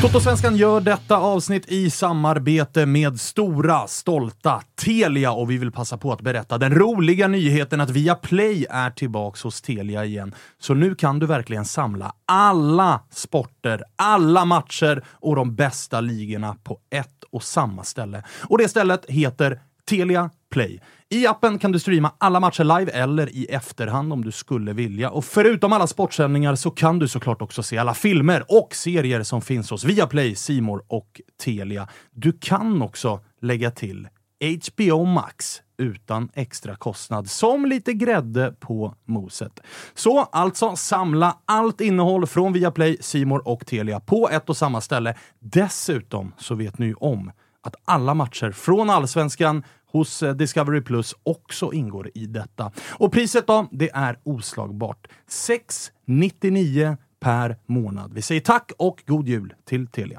S3: Totosvenskan gör detta avsnitt i samarbete med stora, stolta Telia och vi vill passa på att berätta den roliga nyheten att Viaplay är tillbaks hos Telia igen. Så nu kan du verkligen samla alla sporter, alla matcher och de bästa ligorna på ett och samma ställe. Och det stället heter Telia Play. I appen kan du streama alla matcher live eller i efterhand om du skulle vilja. Och förutom alla sportsändningar så kan du såklart också se alla filmer och serier som finns hos Viaplay, Simor och Telia. Du kan också lägga till HBO Max utan extra kostnad, som lite grädde på moset. Så alltså, samla allt innehåll från Viaplay, Simor och Telia på ett och samma ställe. Dessutom så vet ni ju om att alla matcher från Allsvenskan hos eh, Discovery Plus också ingår i detta. Och priset då? Det är oslagbart. 699 per månad. Vi säger tack och god jul till Telia.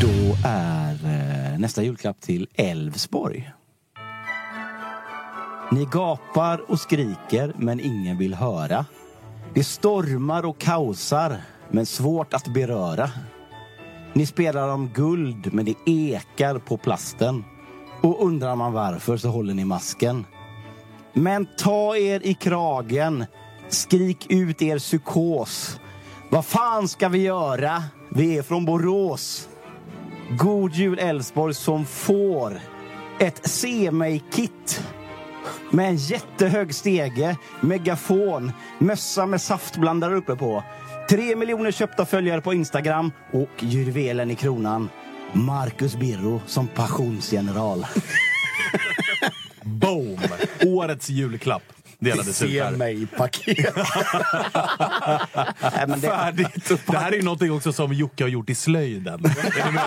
S6: Då är eh, nästa julklapp till Elfsborg. Ni gapar och skriker men ingen vill höra. Det stormar och kaosar men svårt att beröra. Ni spelar om guld men det ekar på plasten. Och undrar man varför så håller ni masken. Men ta er i kragen. Skrik ut er psykos. Vad fan ska vi göra? Vi är från Borås. God jul Elfsborg som får ett se mig-kit med en jättehög stege, megafon, mössa med saftblandare uppe på. Tre miljoner köpta följare på Instagram och juvelen i kronan. Marcus Birro som passionsgeneral.
S3: [laughs] Boom! Årets julklapp delades ut
S2: Se
S3: här.
S2: mig-paket.
S6: Nej, men det-
S3: Färdigt. Det här är ju någonting också som Jocke har gjort i slöjden. [laughs] Är ni med?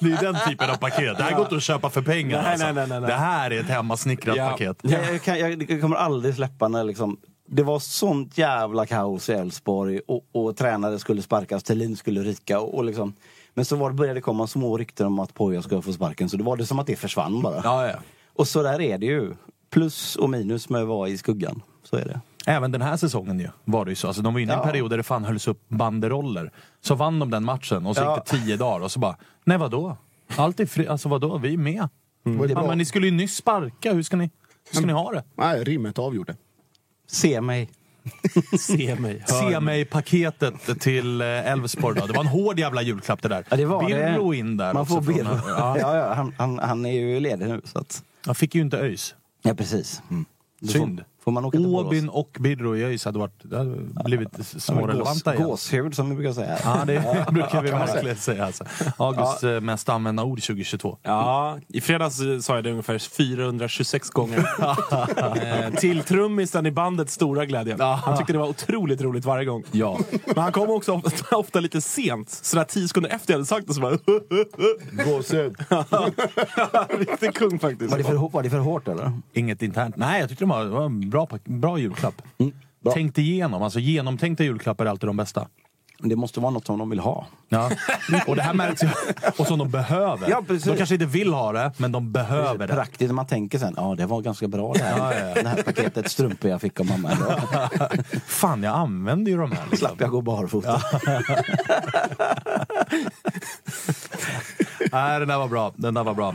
S3: det är ju den typen av paket. Det här går inte att köpa för pengar.
S5: Nej,
S3: alltså.
S5: nej, nej, nej, nej.
S3: Det här är ett hemmasnickrat
S5: Ja.
S3: paket.
S6: Ja. Jag, kan, jag, jag kommer aldrig släppa när liksom, det var sånt jävla kaos i Elfsborg och, och tränare skulle sparkas, Thelin skulle ryka. Och, och liksom, men så var det, började det komma små rykten om att Poja skulle få sparken, så det var det som att det försvann bara.
S3: Ja, ja.
S6: Och så där är det ju. Plus och minus med att vara i skuggan. Så är det.
S3: Även den här säsongen ju, var det ju så. Alltså, de var inne i en
S6: Ja.
S3: period där det fan hölls upp banderoller. Så vann de den matchen och så
S6: Ja.
S3: gick det tio dagar och så bara, nej vadå? Allt är fri, alltså vadå, vi är med.
S2: Var det
S3: Ja,
S2: bra?
S3: men ni skulle ju nyss sparka, hur ska ni, hur ska ni ha det?
S2: Nej, rimmet avgjorde. [laughs]
S6: Se mig.
S5: Se mig.
S3: Se mig-paketet till eh, Elfsborg då. Det var en hård jävla julklapp det där.
S6: Ja, det var
S3: Birro
S6: det.
S3: in där
S6: Man
S3: också
S6: får
S3: från-
S6: Birro. Ja.
S3: Ja.
S6: Ja, han, han, han är ju ledig nu. Så att,
S3: Jag fick ju inte ÖIS.
S6: ja, precis. Då
S3: Synd.
S6: Får, får man åka till Borås?
S3: Mm. Åbyn och Birro i ÖIS hade, varit, det hade blivit smårelevanta
S6: Gås,
S3: igen.
S6: gåshud som vi brukar säga.
S3: Ja, det [laughs] brukar vi verkligen säga. Alltså. Augusts eh, mest använda ord 2022.
S5: Ja, i fredags eh, sa jag det ungefär 426 gånger. eh, till trummisen i bandets stora glädje. Han tyckte det var otroligt roligt varje gång.
S3: Ja.
S5: Men han kom också ofta, ofta lite sent. Sådär tio sekunder efter jag hade sagt det så bara...
S2: Gåshud.
S5: [laughs] Riktig kung faktiskt.
S6: Var det, för, var det för hårt eller?
S3: Inget internt. Nej, jag tyckte det var, det var en bra, pack- bra julklapp.
S6: Mm, bra.
S3: Tänkt igenom. Alltså genomtänkta julklappar är alltid de bästa.
S6: Det måste vara något som de vill ha.
S3: Ja. Och det här märks ju. Och som de behöver.
S6: Ja, precis.
S3: de kanske inte vill ha det, men de behöver det.
S6: Praktiskt, man tänker sen, ja det var ganska bra det här, Det här paketet strumpor jag fick av mamma idag.
S3: Fan, jag använder ju de här. Liksom.
S6: Slapp jag gå barfota. [laughs]
S3: Nej, den där var bra. Den där var bra.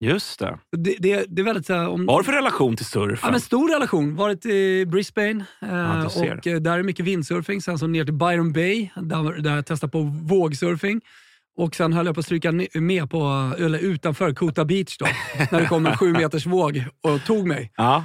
S5: Just det.
S7: Det, det, det är väldigt... så här, Om,
S5: Vad har du för relation till surfen?
S7: Mm. Ja, men stor relation. Varit i Brisbane eh,
S5: du ser.
S7: och eh, där är mycket vindsurfing. Sen så ner till Byron Bay där, där jag testade på vågsurfing. Och sen höll jag på att stryka ne- med på, eller utanför Kota Beach då, när det kom en sju meters våg och tog mig.
S5: Ja.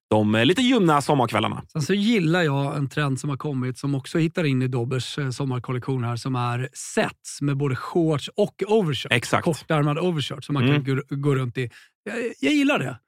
S5: de eh, lite ljumna sommarkvällarna.
S7: Sen så gillar jag en trend som har kommit som också hittar in i Dobbers eh, sommarkollektion här som är sets med både shorts och overshirt.
S5: Exakt.
S7: Kortärmad overshirt som man kan gå, gå runt i. Jag, jag gillar det.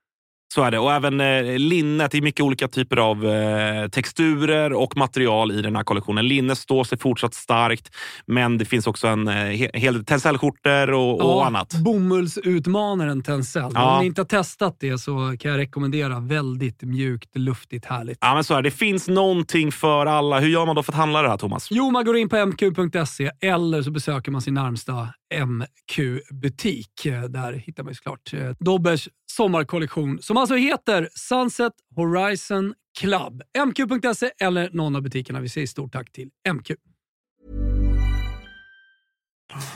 S5: Så är det. Och även eh, linnet. Det är mycket olika typer av eh, texturer och material i den här kollektionen. Linne står sig fortsatt starkt, men det finns också en eh, he- hel del tencellskjortor och, och annat.
S7: Bomullsutmanaren Tencel.
S5: Ja.
S7: Om ni inte har testat det så kan jag rekommendera. Väldigt mjukt, luftigt, härligt.
S5: Ja, men så är det. det finns någonting för alla. Hur gör man då för att handla det här, Thomas?
S7: Jo, man går in på mq.se E eller så besöker man sin närmsta MQ-butik. Eh, Där hittar man ju såklart eh, Dobbers sommarkollektion som alltså heter Sunset Horizon Club. mq.se E eller någon av butikerna. Vi säger stort tack till MQ.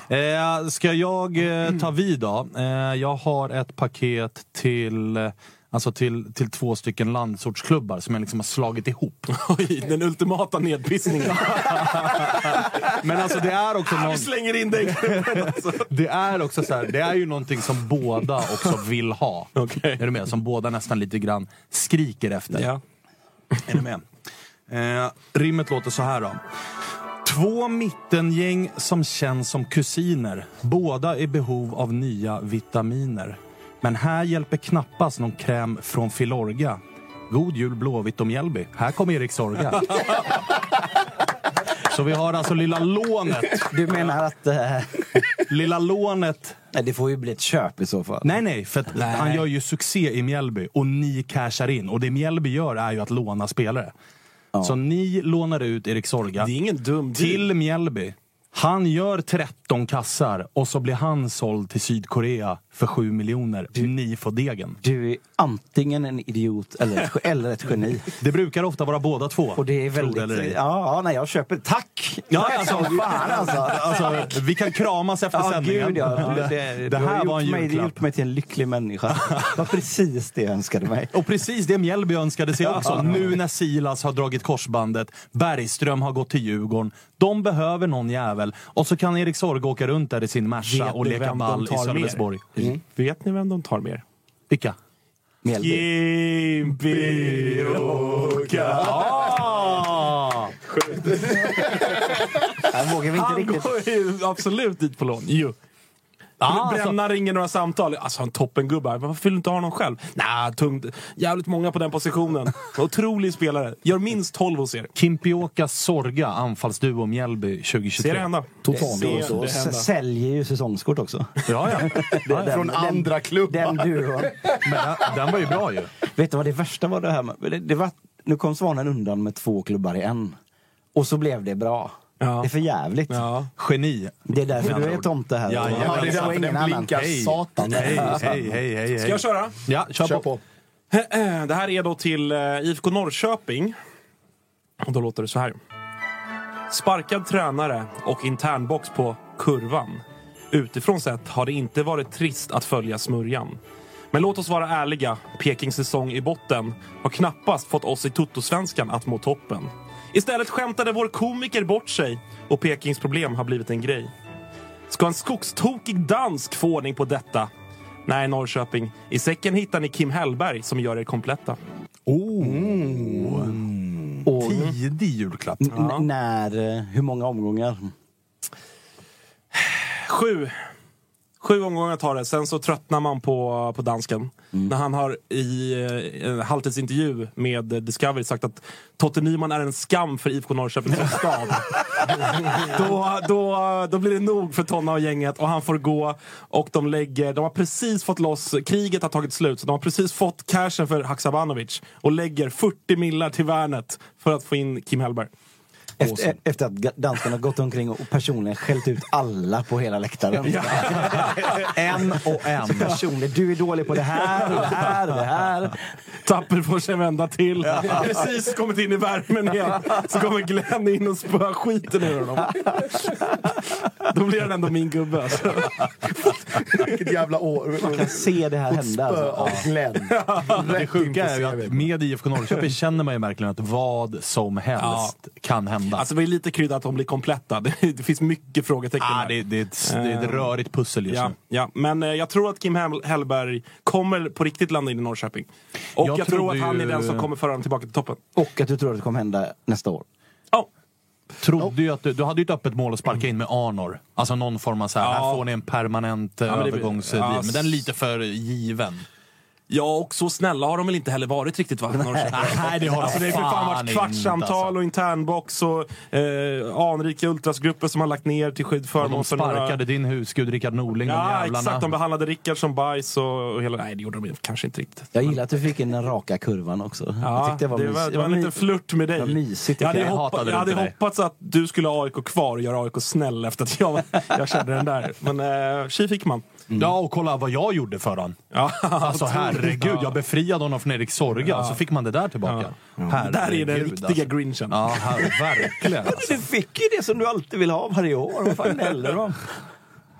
S3: Eh, ska jag eh, ta vid då? Eh, jag har ett paket till, eh, alltså till, till två stycken landsortsklubbar som jag liksom har slagit ihop.
S5: [laughs] Oj, den ultimata nedpissningen.
S3: Men alltså det är
S5: [laughs]
S3: också någon,
S5: slänger in dig. alltså.
S3: [laughs] det är också så här, det är ju någonting som båda också vill ha.
S5: [laughs] Okej.
S3: Är du med? Som båda nästan lite grann skriker efter.
S5: ja.
S3: Är ni med? Eh, rimmet låter så här då. Två mittengäng som känns som kusiner. Båda i behov av nya vitaminer. Men här hjälper knappast någon kräm från Filorga. God jul Blåvitt och Mjällby. Här kommer Erik
S6: [laughs]
S3: Sorga. Så vi har alltså lilla lånet.
S6: Du menar att... Eh,
S3: [laughs] Lilla lånet.
S6: nej, det får ju bli ett köp i så fall.
S3: Nej, nej. För att han gör ju succé i Mjällby och ni cashar in. Och det Mjällby gör är ju att låna spelare. Så ni lånar ut Erik Sorga.
S5: ingen dum
S3: till Mjällby. Han gör 30 17 kassar och så blir han såld till Sydkorea för 7 miljoner. Ni får degen.
S6: Du är antingen en idiot eller ett, eller ett geni.
S3: Det brukar ofta vara båda två.
S6: Och det är
S3: Tror det eller
S6: väldigt...
S3: ej.
S6: Ja, ja, nej, jag köper. Tack!
S3: Ja, alltså,
S6: fan alltså.
S3: alltså, vi kan kramas efter
S6: Ja,
S3: sändningen.
S6: gud ja.
S3: Det-
S6: Det,
S3: det
S6: du har
S3: här var en
S6: gjort mig, det har
S3: julklapp.
S6: gjort mig till en lycklig människa. Det var precis det jag önskade mig.
S3: Och precis det Mjällby önskade sig också.
S6: Ja.
S3: Nu när Silas har dragit korsbandet, Bergström har gått till Djurgården. De behöver någon jävel. Och så kan Erik Sorge åka runt där i sin Merca
S5: Vet
S3: och
S5: ni
S3: leka
S5: vem de
S3: ball i
S5: tar mer?
S3: Sölvesborg.
S5: Vet ni vem de tar mer?
S3: Vilka?
S6: Mjällby.
S5: Jimpi
S3: Ah! [laughs]
S6: Här vågar vi inte
S5: Han
S6: riktigt...
S5: går ju absolut dit på lån. Jo.
S3: Ah,
S5: Bränna ringer några samtal. Alltså han toppengubbe. Varför vill du inte ha någon själv? Nah, tungt. Jävligt många på den positionen. Otrolig spelare. Gör minst 12 hos er.
S3: Kimpioka Sorga, anfallsduo Mjällby 2023.
S5: Ser det hända?
S3: Totalt.
S5: Ser
S6: Så
S5: det hända.
S6: säljer ju säsongskort också.
S3: Ja, [laughs] ja.
S6: Den- den-
S2: Från
S6: den-
S2: andra klubbar.
S6: Den duon.
S3: Men den, den var ju bra ju.
S6: Vet du vad det värsta var det här med? Det, det var, nu kom Svanen undan med två klubbar i en. Och så blev det bra.
S5: Ja.
S6: Det är för jävligt.
S5: Ja.
S3: Geni.
S6: Det är
S3: Med
S6: därför du
S3: andra
S6: är
S3: ord.
S6: tomte här.
S3: Ja,
S6: Och-
S3: ja,
S2: Ja, det är
S6: och
S2: därför
S6: ingen
S2: den
S6: annan.
S2: blinkar
S3: Hej.
S2: satan.
S3: Hej, hej, hej, hej. hej.
S5: Ska jag köra?
S3: Ja, kör,
S2: Kör
S3: på.
S2: på.
S5: [clears throat] Det här är då till eh, IFK Norrköping. Och då låter det så här. Sparkad tränare och internbox på kurvan. Utifrån sett har det inte varit trist att följa smörjan. Men låt oss vara ärliga. Pekings säsong i botten har knappast fått oss i Toto-svenskan att må toppen. Istället skämtade vår komiker bort sig och Pekings problem har blivit en grej. Ska en skogstokig dansk få ordning på detta? Nej, Norrköping. I säcken hittar ni Kim Hellberg som gör er kompletta.
S3: Oh.
S6: Mm. Och n-
S3: Tidig julklapp.
S6: n- när, eh, hur många omgångar?
S5: Sju. Sju omgångar tar det. Sen så tröttnar man på, på dansken.
S6: Mm.
S5: När han har i eh, en halvtidsintervju med eh, Discovery sagt att Totte Nyman är en skam för IFK Norrköping
S6: [laughs]
S5: som stad. då, då, då blir det nog för Tonna och gänget och han får gå. Och de lägger, de har precis fått loss, kriget har tagit slut, så de har precis fått cashen för Haksabanovic och lägger 40 millar till värnet för att få in Kim Hellberg.
S6: Efter, e- efter att ga- danskarna har gått omkring och personligen skällt ut alla på hela läktaren. [laughs] en och en. Personligen, du är dålig på det här, det här, det här.
S5: Tapper får sig en vända till. Precis kommit in i värmen igen. Så kommer Glenn in och spöar skiten ur honom. Då blir han ändå min gubbe. Alltså.
S2: Vilket jävla år.
S6: Man kan se det här hända.
S2: Spö
S6: Alltså.
S2: av Glenn.
S3: Det
S2: Rätt in på
S3: sjuka är ju att
S2: CV.
S3: med IFK Norrköping känner man ju verkligen att vad som helst kan hända.
S5: alltså det var ju lite krydda att de blir kompletta. [laughs] Det, det finns mycket frågetecken
S3: ah,
S5: här.
S3: det,
S5: Eh.
S3: det, är ett, det är ett rörigt pussel just
S5: Ehm, Ja,
S3: nu.
S5: ja, men eh, jag tror att Kim Hell- Hellberg kommer på riktigt landa in i Norrköping. Och jag,
S3: Jag
S5: tror
S3: trodde
S5: att han är
S3: ju-
S5: den som kommer föra dem tillbaka till toppen.
S6: Och att du tror att det kommer hända nästa år.
S5: Ja.
S3: Trodde ju att du, du hade ju ett öppet mål att sparka in med Arnor. Alltså någon form av så här,
S5: Ja.
S3: här får ni en permanent ja,
S5: men det-
S3: övergångsdeal.
S5: ja,
S3: men den är lite för given.
S5: Ja, och så snälla har de väl inte heller varit riktigt va? Norrköping?
S3: [laughs] Nej, det har
S5: Alltså det är för fan varit
S3: alltså.
S5: kvartssamtal och internbox och eh, anrika ultrasgrupper som har lagt ner till skydd
S3: Och
S5: förmån
S3: de
S5: för några...
S3: sparkade din husgud Rickard Norling,
S5: Ja,
S3: de jävlarna.
S5: exakt. De behandlade Rickard som bajs och, och hela... Nej, det gjorde de ju kanske inte riktigt.
S6: Jag gillar att du fick in den raka kurvan också. jag
S5: Ja,
S6: tyckte det var,
S5: det var,
S6: mys-
S5: det var en
S6: my-
S5: liten flört med dig.
S6: det var mysigt,
S5: jag hade,
S6: tycker
S3: jag.
S5: hoppa,
S3: Jag hatade
S5: jag hade
S3: det inte dig.
S5: hoppats att du skulle ha AIK kvar och göra AIK snäll efter att jag, jag kände den där. Men eh, tji fick man.
S3: Ja, och kolla vad jag gjorde för honom.
S5: Ja,
S3: Alltså herregud, jag befriade honom från Erik Sorga, så fick man det där tillbaka. Herregud,
S5: Där är den riktiga
S3: alltså.
S5: grinchen.
S3: Ja, här, verkligen. Alltså,
S6: Du fick ju det som du alltid vill ha varje år. Vad fan gnäller du om?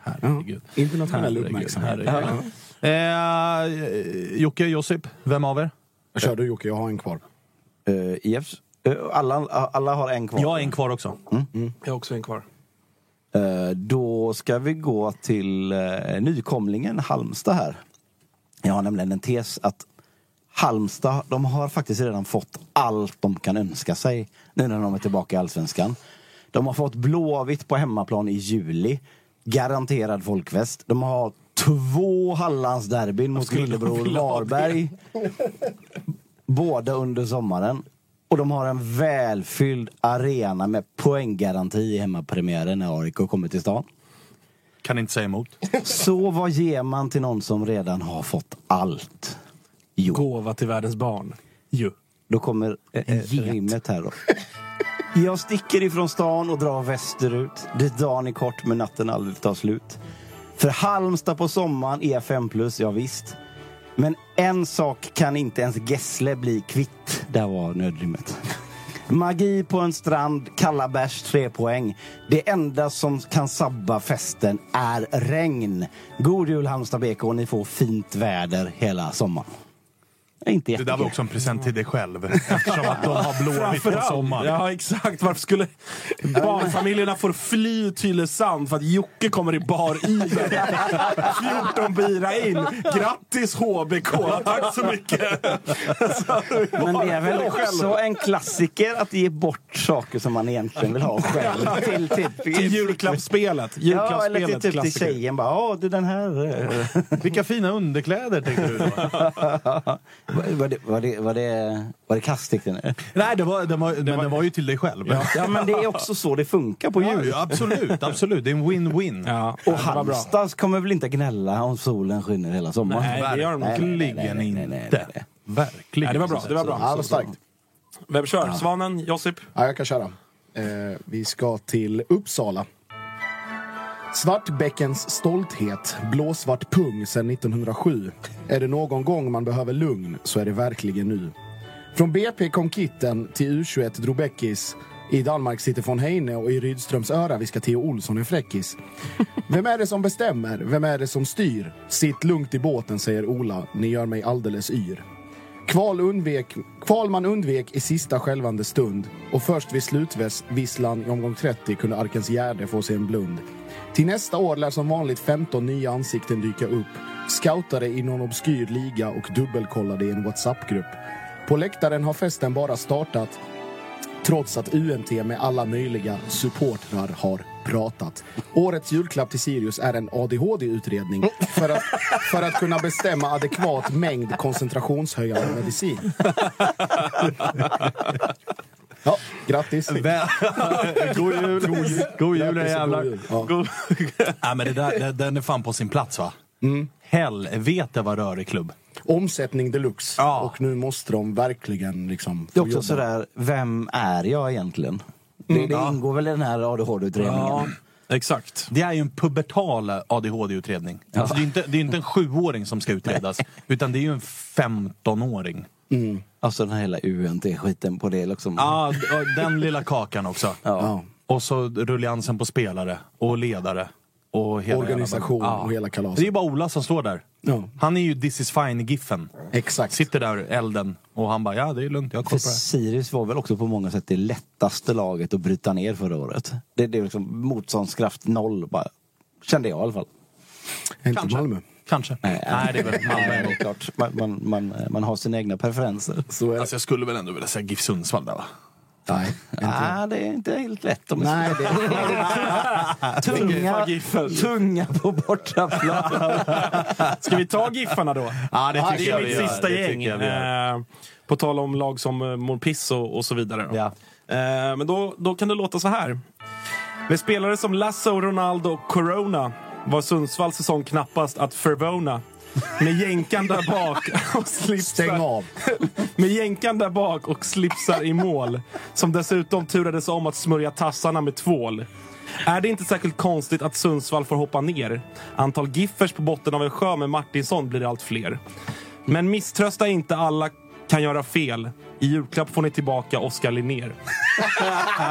S3: herregud.
S2: Internationell
S3: Herregud,
S2: uppmärksamhet.
S3: herregud. Eh, Jocke, Josip, vem av er?
S2: Kör du Jocke, jag har en kvar.
S6: Eh, IFs, eh, alla, alla har en kvar.
S3: Jag har en kvar också.
S5: Jag har också en kvar.
S6: Mm. Eh, Då ska vi gå till eh, nykomlingen Halmstad här. Jag har nämligen en tes att Halmstad, de har faktiskt redan fått allt de kan önska sig nu när de är tillbaka i Allsvenskan. De har fått Blåvitt på hemmaplan i juli. Garanterad folkfest. De har två Hallandsderbyn mot Lillebror Varberg. Båda under sommaren. Och de har en välfylld arena med poänggaranti i hemmapremiären när AIK kommer till stan.
S3: Kan inte säga emot.
S6: Så vad ger man till någon som redan har fått allt? Jo,
S5: Gåva till världens barn.
S3: Ju.
S6: då kommer eh, eh,
S5: get.
S6: rimmet här då. Jag sticker ifrån stan och drar västerut. Dit dagen är kort men natten aldrig tar slut. För Halmstad på sommaren är 5 plus, ja visst. Men en sak kan inte ens Gessle bli kvitt. Där var nödrimmet. Magi på en strand, kalla bärs, tre poäng. Det enda som kan sabba festen är regn. God jul Halmstad BK, ni får fint väder hela sommaren. Inte
S3: Det där var
S6: jättekul.
S3: också en present till dig själv. Eftersom att de har Blåvitt på
S5: Framförallt.
S3: sommaren.
S5: Ja, exakt. Varför skulle barnfamiljerna får fly Tylösand för att Jocke kommer i
S3: [laughs]
S5: bar i 14 bira in. Grattis HBK! Tack så mycket! Alltså,
S6: Men det är väl
S5: bara-
S6: också en klassiker att ge bort saker som man egentligen vill ha själv. [laughs] Till, typ,
S5: Till julklappsspelet.
S6: Ja, eller till,
S5: Julklappsspelet,
S6: typ till
S5: klassiker.
S6: tjejen. Bara, "Ja, du den här... eh."
S3: Vilka fina underkläder
S6: [laughs]
S3: tänkte du då?
S6: Var- Var det, var det, var det, var det kastikten?
S3: Nej, det var, det var, men det var ju till dig själv. Ja,
S6: Ja, men det är också så det funkar på jul.
S3: ja, absolut, absolut. Det är en win-win.
S5: Ja,
S6: Och Halmstad kommer väl inte gnälla om solen skiner hela sommaren?
S5: Nej, det gör de
S6: Nej, nej, nej, nej,
S3: Verkligen
S6: nej, nej, nej, nej.
S3: inte. Verkligen.
S5: Nej, det var bra. Det var bra.
S2: Ja, det var starkt.
S5: Vem kör? Svanen? Josip?
S2: Ja, jag kan köra. Eh, vi ska till Uppsala. Svartbäckens stolthet, blåsvart pung sedan 1907. Är det någon gång man behöver lugn så är det verkligen nu. Från BP kom Kitten till U21 drog Beckis. I Danmark sitter von Heine och i Rydströms öra viskar Theo Olsson en fräckis. Vem är det som bestämmer? Vem är det som styr? Sitt lugnt i båten, säger Ola. Ni gör mig alldeles yr. Kval, undvek, kval man undvek i sista skälvande stund och först vid slutvisslan i omgång 30 kunde Arkens Gärde få sig en blund. Till nästa år lär som vanligt 15 nya ansikten dyka upp, scoutade i någon obskyr liga och dubbelkollade i en WhatsApp-grupp. På läktaren har festen bara startat trots att UMT med alla möjliga supportrar har pratat. Årets julklapp till Sirius är en ADHD-utredning för att, för att kunna bestämma adekvat mängd koncentrationshöjande medicin. Ja,
S3: [laughs]
S2: grattis.
S3: God jul! God jul, god jul era
S2: Grattis och
S3: jävlar!
S2: god jul. Ja.
S3: [laughs] Nej, men det där, det, den är fan på sin plats va?
S2: Mm.
S3: Helvete vad rörig klubb.
S2: Omsättning deluxe.
S3: Ja.
S2: Och nu måste de verkligen liksom...
S6: Det är
S2: få jobba.
S6: också sådär, vem är jag egentligen? Det, det ingår väl i den här ADHD-utredningen?
S5: Ja, exakt.
S3: Det är ju en pubertal ADHD-utredning. Alltså, det är ju inte, det är inte en sjuåring som ska utredas, utan det är ju en 15-åring.
S6: Alltså den här hela UNT-skiten på det liksom.
S3: Mm. Ja, d- och den lilla kakan också.
S2: Ja.
S3: Och så rulliansen på spelare och ledare. Och hela
S2: Organisation
S3: jävla-
S2: och hela kalaset.
S3: Det är ju bara Ola som står där.
S2: Ja.
S3: Han är ju this is fine-giffen.
S2: Exakt.
S3: Sitter där, elden, och han bara ja det är lugnt, jag har
S6: För
S3: koll på det här."
S6: Sirius var väl också på många sätt det lättaste laget att bryta ner förra året. Det, det är liksom motståndskraft noll, bara, kände jag i alla fall.
S2: Inte Malmö.
S3: Kanske. Nej, det är
S5: [laughs]
S3: väl
S6: Nej,
S3: Malmö.
S6: det är klart. Man, man, man, man har sina egna preferenser.
S2: [laughs] Så är det.
S3: Alltså jag skulle väl ändå vilja säga GIF Sundsvall där va?
S2: Nej.
S6: Nej, det är inte helt lätt. Om
S2: Nej, det
S6: [laughs] tunga, tunga på bortaplan.
S5: Ska vi ta Giffarna då?
S3: Ja det
S5: det
S3: tycker jag
S5: är
S3: vi
S5: mitt
S3: gör.
S5: sista
S3: Det
S5: gäng.
S3: tycker jag vi gör.
S5: Eh, på tal om lag som eh, mår piss och, och så vidare. då.
S3: Ja.
S5: Eh, men då, då kan det låta så här. Med spelare som Lasso, Ronaldo och Corona var Sundsvalls säsong knappast att förvåna. Med jänkan där bak [laughs] och
S2: Stäng
S5: slipsar,
S2: av.
S5: [laughs] med jänkan där bak och slipsar i mål. Som dessutom turades om att smörja tassarna med tvål. Är det inte särskilt konstigt att Sundsvall får hoppa ner? Antal giffers på botten av en sjö med Martinsson blir allt fler. Men misströsta inte, alla kan göra fel. I julklapp får ni tillbaka Oskar Linnér.
S3: Eh,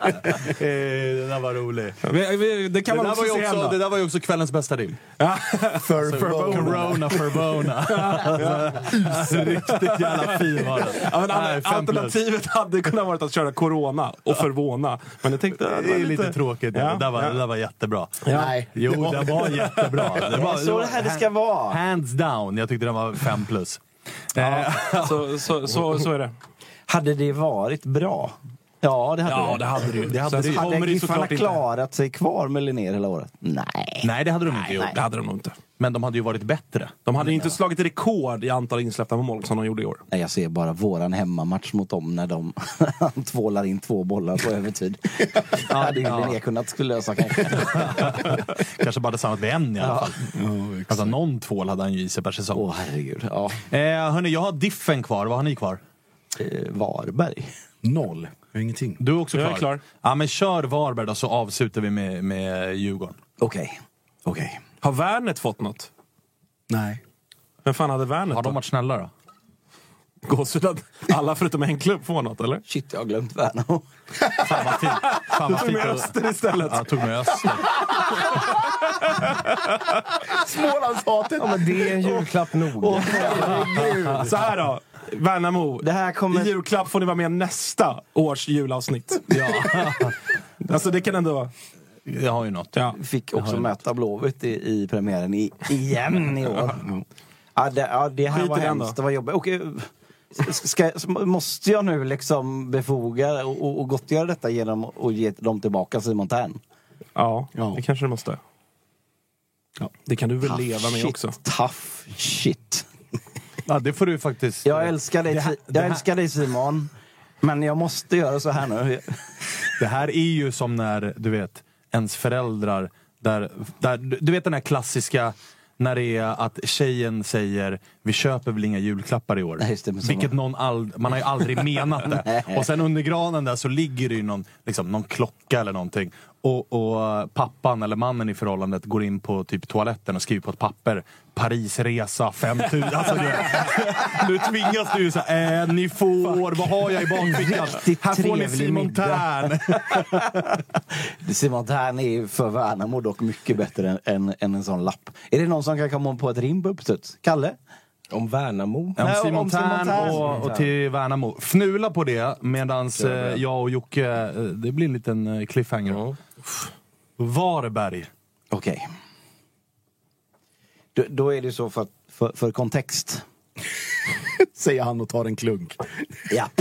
S3: [laughs] Det där var roligt.
S5: Vi- vi- Det
S3: Det
S5: kan man
S3: där,
S5: också
S3: var ju
S5: se
S3: också, det
S5: hemma.
S3: där var ju också kvällens bästa rim. Alltså,
S2: Förbona.
S3: Corona
S5: [laughs]
S3: Ferbona. Riktigt jävla fin var den.
S5: Ja, men
S3: Nej,
S5: al-
S3: fem plus.
S5: alternativet hade kunnat vara att köra corona och förvåna. Men jag tänkte...
S3: Det är lite tråkigt.
S5: Ja,
S3: det, där var,
S5: ja.
S3: det där var jättebra.
S2: Nej.
S3: Jo, det var,
S5: [laughs]
S3: jättebra. Det var,
S6: Så det här det ska vara.
S3: Hands down. Jag tyckte den var fem plus. Eh, [laughs]
S5: Så, så, så, så är det.
S6: Hade det varit bra? Ja, det hade
S5: Ja, det hade du.
S3: Det hade
S5: Sen
S3: du.
S5: så
S3: Hade
S5: kommer
S6: Hade
S5: det
S6: Giffarna
S5: såklart inte.
S6: klarat sig kvar med Linnér hela året? Nej.
S3: nej, det hade de inte gjort.
S5: Det hade de nog inte.
S3: Men de hade ju varit bättre.
S5: De hade ju inte slagit rekord i antal insläppta mål som de gjorde i år.
S6: Nej, jag ser bara våran hemmamatch mot dem när de [laughs] tvålar in två bollar på [laughs] övertid. Det hade ju Linnér kunnat skulle lösa kanske.
S3: [laughs] Kanske bara hade samlat med en i alla fall. alltså, någon tvål hade han ju i sig per säsong.
S6: Åh herregud. Ja.
S3: Eh, hörni, jag har diffen kvar. Vad har ni kvar?
S6: eh, Varberg.
S2: Noll. Jag har ingenting.
S3: Du är också klar?
S5: Jag är klar.
S3: Ja, men kör Varberg då så avslutar vi med, med Djurgården.
S6: Okej. Okej.
S5: Har Värnet fått något?
S2: Nej.
S5: Vem fan hade Värnet
S3: Har de
S5: då?
S3: varit snälla då?
S5: Gåshud att alla förutom en klubb får något, eller?
S6: Shit, jag har glömt Värnamo.
S3: Fan vad fint. Fan
S5: Du
S3: vad
S5: tog
S3: fint.
S5: med Öster istället.
S3: Ja, jag tog med Öster.
S2: Smålandshatet!
S4: Ja, men det är en julklapp nog.
S5: Så här då, Värnamo.
S4: Det här kommer-
S5: I julklapp får ni vara med nästa års julavsnitt.
S3: Ja,
S5: Alltså det kan ändå...
S3: jag har ju något.
S5: Ja.
S6: Fick också möta Blåvitt i, i premiären i,
S5: [laughs]
S6: igen i år. Ja, det, ja, det här
S5: Skit i
S6: var
S5: den då.
S6: hemskt. Det var jobbigt. Och, eh, s- ska, s- måste jag nu liksom befoga och, och- och gottgöra detta genom att ge dem tillbaka Simon Tern?
S5: Ja,
S6: Ja.
S5: det kanske det måste. Det kan du väl leva med
S6: Ah, shit,
S5: också?
S6: Tough shit.
S3: Ja, det får du faktiskt... eh,
S6: Jag älskar dig,
S3: Det här-
S6: Si-
S3: det
S6: jag
S3: här-
S6: älskar dig Simon. Men jag måste göra så här nu.
S3: Det här är ju som när, du vet, ens föräldrar... Där, där, du vet den här klassiska när det är att tjejen säger vi köper väl inga julklappar i år.
S6: Nej, just det, men som-
S3: Vilket någon ald- man har ju
S6: [laughs]
S3: aldrig menat det. och sen under granen där så ligger det ju någon, liksom, någon klocka eller någonting. Och, och pappan eller mannen i förhållandet går in på typ toaletten och skriver på ett papper Parisresa
S6: [laughs]
S3: 5000. Alltså, du, nu tvingas du ju såhär, äh, ni får, vad har jag i bakfickan?
S6: [laughs] Riktigt
S3: Här får ni
S6: trevlig
S3: Simon
S6: middag."
S3: Tern.
S6: Simon Tern är ju för Värnamo dock mycket bättre än, än, än en sån lapp. Är det någon som kan komma på ett rim på uppstuds? Kalle?
S4: Om Värnamo.
S3: Om [laughs]
S6: Nej,
S3: Simon
S6: om Simon
S3: Tern
S6: Tern.
S3: och, och till Värnamo. Fnula på det medan eh, jag och Jocke, eh, det blir en liten eh, cliffhanger. Varberg.
S6: Okej. Då, då är det så för, för, för kontext.
S2: [laughs] Säger han och tar en klunk.
S6: Ja. [laughs]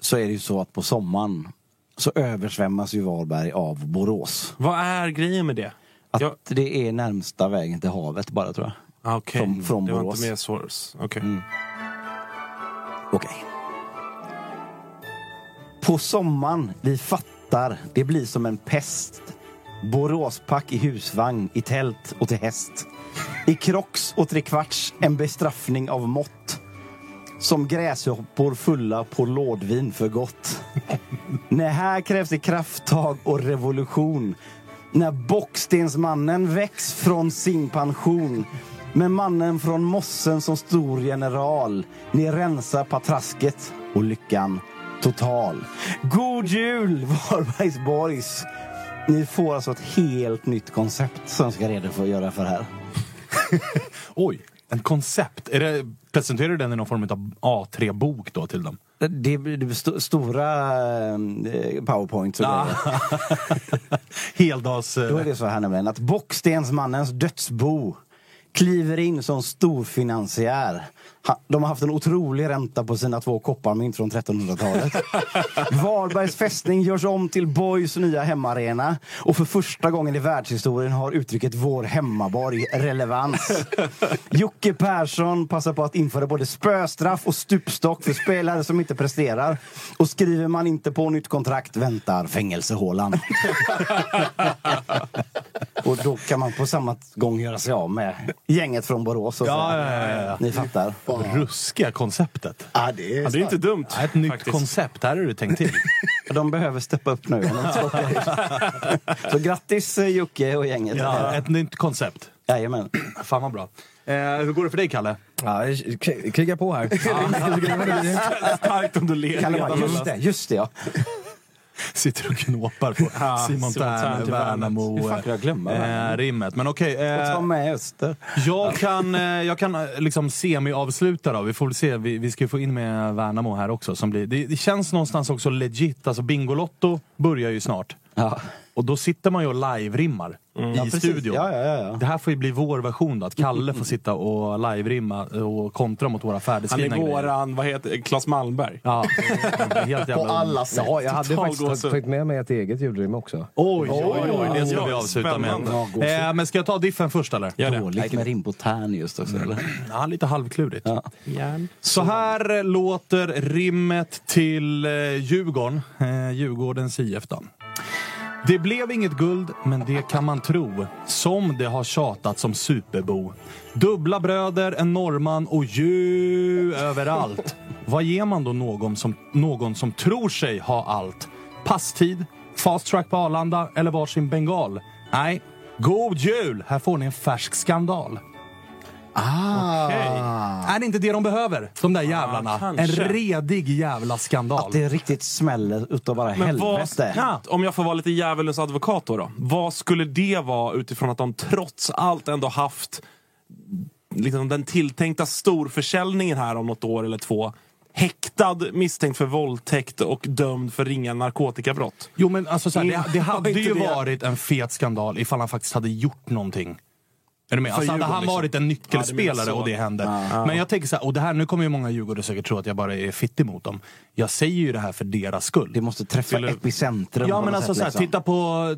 S6: så är det ju så att på sommaren så översvämmas ju Varberg av Borås.
S5: Vad är grejen med det?
S6: Att
S5: Jag-
S6: det är närmsta vägen till havet bara tror jag.
S5: Ah, Okej,
S6: Från- från
S5: det var
S6: Borås. Mm.
S5: inte mer source. Okej.
S6: Okej. På sommaren, vi fattar, det blir som en pest. Boråspack i husvagn, i tält och till häst. I krocks och trekvarts, en bestraffning av mått. Som gräshoppor fulla på lådvin för gott. Nej, här krävs det krafttag och revolution. När bockstensmannen väcks från sin pension. Med mannen från mossen som stor general. Ni rensar patrasket och lyckan total. God jul Varbergs boys! Ni får alltså ett helt nytt koncept som ska redo för att göra för här.
S3: Oj, en koncept. Är det, presenterar du den i någon form av A3-bok då till dem?
S6: Det det blir det blir st- stora eh, powerpoints och grejer.
S3: Heldags...
S6: Då är
S3: Eh,
S6: det så här nämligen att Bockstensmannens dödsbo kliver in som storfinansiär. Ha- De har haft en otrolig ränta på sina två kopparmynt från 1300-talet. Varbergs fästning görs om till Boys nya hemmaarena och för första gången i världshistorien har uttrycket Vår hemmaborg relevans. Jocke Persson passar på att införa både spöstraff och stupstock för spelare som inte presterar. Och skriver man inte på nytt kontrakt väntar fängelsehålan. Och då kan man på samma gång göra sig av med gänget från Borås. Och så.
S3: ja, ja, ja, ja. [laughs]
S6: Ni fattar.
S3: Ruskiga konceptet.
S2: Ja, det är
S5: Ja, det är ju inte dumt.
S3: Ja, Ett nytt
S5: faktiskt.
S3: koncept, här har du tänkt
S6: [laughs]
S3: till.
S6: De behöver steppa upp nu. om de ska åka ut. Så grattis eh, Jocke och gänget.
S3: ja, ett nytt koncept.
S6: Jajamän.
S3: Fan vad bra. Eh, hur går det för dig, Kalle?
S4: Ja, k- kriga
S3: [laughs]
S4: på här.
S5: Starkt om du leder.
S6: Kalle bara, just det, just det ja.
S3: [laughs] Sitter och knåpar på
S5: Ja,
S3: Simon
S5: Simon Tern
S3: Tern,
S5: till
S3: Värnamo...
S6: Hur fan kunde jag glömma Värnamo?
S3: eh, rimmet. Men okej.
S6: Och
S3: eh,
S6: ta med Öster.
S3: Jag kan, eh, jag kan eh, liksom semi-avsluta då. Vi får väl se. Vi, vi ska ju få in med Värnamo här också. Som blir, det, det känns någonstans också legit. Alltså Bingolotto börjar ju snart.
S6: Ja. Mm.
S3: Och då sitter man ju och live-rimmar i
S6: Ja, precis.
S3: studion.
S6: Ja, ja, ja, ja.
S3: Det här får ju bli vår version då. Att Kalle får sitta och live-rimma och kontra mot våra
S5: Han
S3: färdigskrivna
S5: är
S3: grejer.
S5: våran, vad heter Claes Malmberg.
S3: Ja, helt jävla...
S2: på alla sätt.
S4: Ja, jag hade
S5: Total
S4: faktiskt
S5: gåshud.
S4: tagit med mig ett eget julrim också.
S3: Oj, oj, oj, det ska
S5: Oj,
S3: vi avsluta med.
S5: spännande.
S6: Ja, gåshud.
S3: Eh, men ska jag ta diffen först eller?
S5: Gör det.
S6: Dåligt med rim på tärn just också eller?
S3: Ja, lite halvklurigt.
S6: Mm. Ja.
S3: Så här låter rimmet till eh, Djurgården, eh, Djurgårdens IF då. Det blev inget guld, men det kan man tro. Som det har tjatats om Superbo. Dubbla bröder, en norrman och ju överallt. Vad ger man då någon som, någon som tror sig ha allt? Passtid, fast track på Arlanda eller varsin bengal? Nej, god jul! Här får ni en färsk skandal.
S6: Ah.
S3: Är det inte det de behöver? De där jävlarna. en
S5: Ah, kanske.
S3: redig jävla skandal.
S6: Att det riktigt smäller utav bara
S5: Men vad,
S6: helvete.
S5: ja, om jag får vara lite djävulens advokat då, då. Vad skulle det vara utifrån att de trots allt ändå haft liksom, den tilltänkta storförsäljningen här om något år eller två häktad, misstänkt för våldtäkt och dömd för ringa narkotikabrott?
S3: Jo men alltså så här, det,
S5: [laughs]
S3: det hade
S5: Inte
S3: ju
S5: det.
S3: varit en fet skandal ifall han faktiskt hade gjort någonting. Är du med? Alltså, hade
S5: Djurgården,
S3: han
S5: liksom.
S3: varit en
S5: Ja,
S3: nyckelspelare
S5: du menar så.
S3: och det hände. Men jag tänker så här, och det här, nu kommer ju många djurgårdare säkert tro att jag bara är fittig mot dem. Jag säger ju det här för deras skull.
S6: Det måste träffa
S3: Skulle-
S6: epicentrum.
S3: Ja
S6: på
S3: men
S6: något
S3: alltså
S6: sätt,
S3: såhär,
S6: liksom.
S3: titta på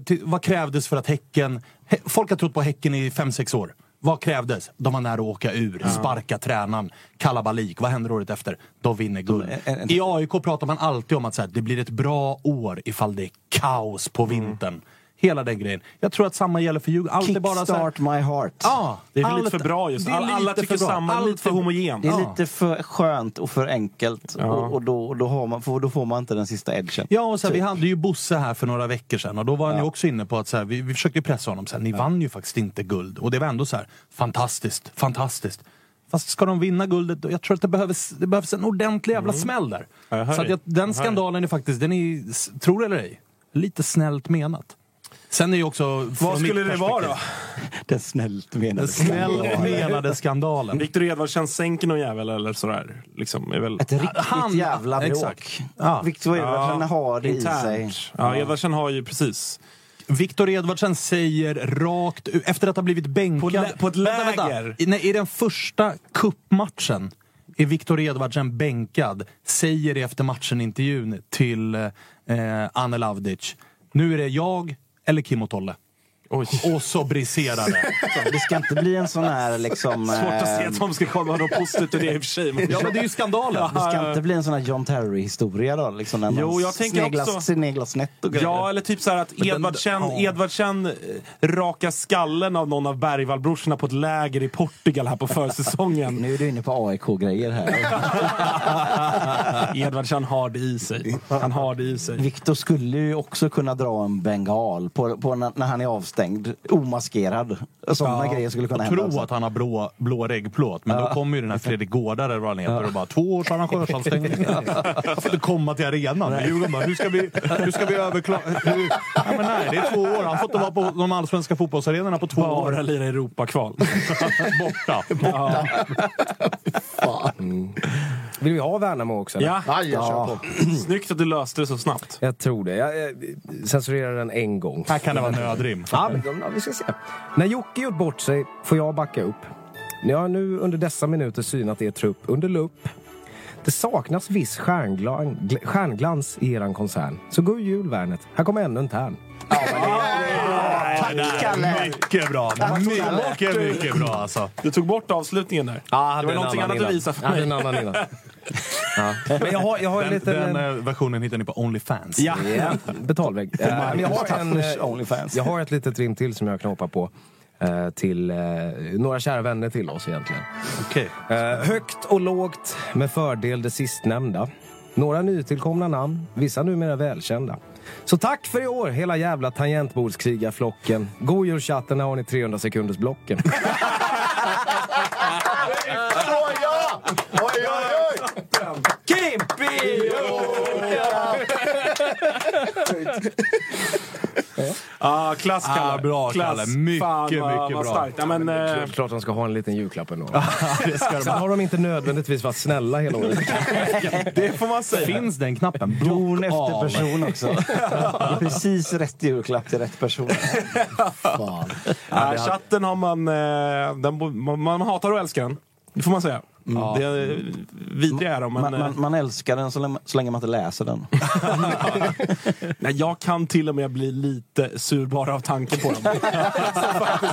S3: ti- vad krävdes för att Häcken... Hä, folk har trott på Häcken i 5-6 år. Vad krävdes? De var nära att åka ur, sparka tränaren, kalabalik. Vad händer året efter? De vinner guld.
S6: en- en-
S3: I AIK pratar man alltid om att så här, det blir ett bra år ifall det är kaos på vintern. Hela den grejen. Jag tror att samma gäller för Djurgården. Allt är bara så här,
S6: Kickstart my heart.
S3: Ja,
S5: Det är väl
S3: allt-
S5: lite för bra just
S3: det är
S5: Alla, alla
S3: lite
S5: tycker
S3: för bra.
S5: samma,
S3: Allt
S5: lite för
S3: är-
S5: homogent.
S6: Det är lite för skönt och för enkelt. Och, och, då, och då, har man, för då får man inte den sista edgen.
S3: Ja, och så här,
S5: Typ.
S3: vi hade ju Bosse här för några veckor sedan och då var han ju också inne på att så här, vi, vi försökte ju pressa honom. Så här, ni vann ju faktiskt inte guld. Och det var ändå så här, fantastiskt, fantastiskt. Fast ska de vinna guldet, då- jag tror att det behövs, det behövs en ordentlig jävla smäll där.
S5: Mm. Ja, jag hör
S3: så att
S5: dig.
S3: jag, den skandalen är faktiskt, den är, s- tror eller ej, lite snällt menat. Sen är ju också...
S5: Vad skulle det vara då?
S6: [laughs] Den snällt menade.
S3: Den snällt menade skandalen.
S5: Viktor Edvardsen sänker någon jävel eller sådär. Liksom, är väl...
S6: Ett riktigt
S3: Han-
S6: jävla bråk.
S3: exakt. Ja.
S6: Victor Edvardsen har det i
S5: internt.
S6: sig.
S5: Ja, Edvardsen har ju precis.
S3: Viktor Edvardsen säger rakt ut- efter att ha blivit bänkad.
S5: På ett lä- på ett
S3: Vänta,
S5: läger.
S3: vänta. I, nej, I den första kuppmatchen är Viktor Edvardsen bänkad. Säger det efter matchen-intervjun till eh, Anne Lavdic. Nu är det jag eller Kim och Tolle. Och så briserar
S5: [laughs]
S3: det.
S6: Det ska inte bli en sån här liksom...
S5: Svårt att se
S6: eh,
S5: att de ska komma något positivt ur det i och för sig. men-
S3: ja, men det är ju skandalen.
S6: Det ska inte bli en sån här John Terry-historia då? Liksom när man
S5: Jo, jag tänker
S6: sneglas,
S5: också-
S6: sneglas snett och grejer.
S5: Ja, eller typ så här att
S3: den-
S5: Edvardsen,
S3: ja.
S5: Edvardsen eh, rakar skallen av någon av Bergvallbrorsorna på ett läger i Portugal här på försäsongen.
S6: Nu är du inne på
S5: [laughs]
S6: AIK-grejer här.
S5: Edvardsen har det i sig. Han har det i sig.
S6: Viktor skulle ju också kunna dra en bengal på, på när, när han är avstängd. Omaskerad. Sådana grejer skulle kunna
S3: och
S6: hända.
S3: tro
S6: också.
S3: att han har blå, blå reggplåt. Men då kommer ju den här Fredrik Gårdare eller vad han heter och bara två års arrangörsanställning. Jag får inte komma till arenan. Men Djurgården bara, hur ska vi, hur ska vi [laughs] överklaga? Hur? Ja, men nej, det är två år. Han får inte vara på de allsvenska fotbollsarenorna på två
S5: Bara
S3: år.
S5: lira
S3: [laughs]
S5: Europa-kval.
S3: Borta.
S4: [laughs] Mm. Vill vi ha Värnamo också? eller?
S5: Ja,
S2: Aj, jag kör på.
S5: [clears throat] snyggt att du löste det så snabbt.
S4: Jag tror det. Jag, jag censurerar den en gång.
S3: Här kan det vara nödrim.
S4: Ja, men, de- ja, vi ska se. När Jocke gjort bort sig får jag backa upp. Ni har nu under dessa minuter synat er trupp under lupp. Det saknas viss stjärnglan, gl- stjärnglans i eran koncern. Så god jul Värnet. Här kommer ännu en tärn.
S3: Tack Kalle! Mycket bra. Mycket, mycket bra alltså.
S5: Du tog bort avslutningen där. det var någonting annat att visa för
S4: Jag hade
S5: mig.
S4: en annan
S3: [laughs]
S5: [laughs]
S4: innan. Ja. Men jag har, jag har en
S3: Den,
S4: liten...
S3: den
S4: eh,
S3: eh, versionen hittar ni på Onlyfans. [laughs]
S5: Ja.
S4: Ja, betalvägg. Eh, [laughs] men jag, har en,
S6: Taffers
S4: eh,
S6: Onlyfans.
S4: jag har ett litet rim till som jag kan hoppa på. eh, Till eh, några kära vänner till oss egentligen.
S3: Okej.
S4: Eh, högt och lågt, med fördel det sistnämnda. Några nytillkomna namn, vissa numera välkända. Så tack för i år, hela jävla tangentbordskrigarflocken. God jul chatten, här har ni 300 sekunders blocken. [laughs]
S2: Såja! Oj, oj, oj!
S4: Kimpi!
S5: Ah, klass, Kalle.
S3: Ah, bra,
S5: klass.
S3: Kalle. Mycket,
S5: Fan, vad,
S3: mycket bra.
S5: vad Starkt. Ja, men, eh,
S4: Klart de ska ha en liten julklapp
S3: [laughs]
S4: ändå. Sen [laughs] har de inte nödvändigtvis varit snälla hela året.
S3: [laughs]
S5: det får man säga.
S3: Finns den knappen?
S6: Don
S3: Block
S6: efter
S3: av.
S6: person också.
S3: [laughs]
S6: Det är Precis rätt julklapp till rätt [laughs] person.
S5: äh, Ja, chatten har man, eh, den, bo- man... Man hatar och älskar den. Det får man säga. Mm,
S6: Ja.
S5: Det är, vidriga är de, men...
S6: Man, man, man älskar den så länge, så länge man inte läser den.
S5: eh, nej, jag kan till och med bli lite sur bara av tanken på dem. Så faktiskt,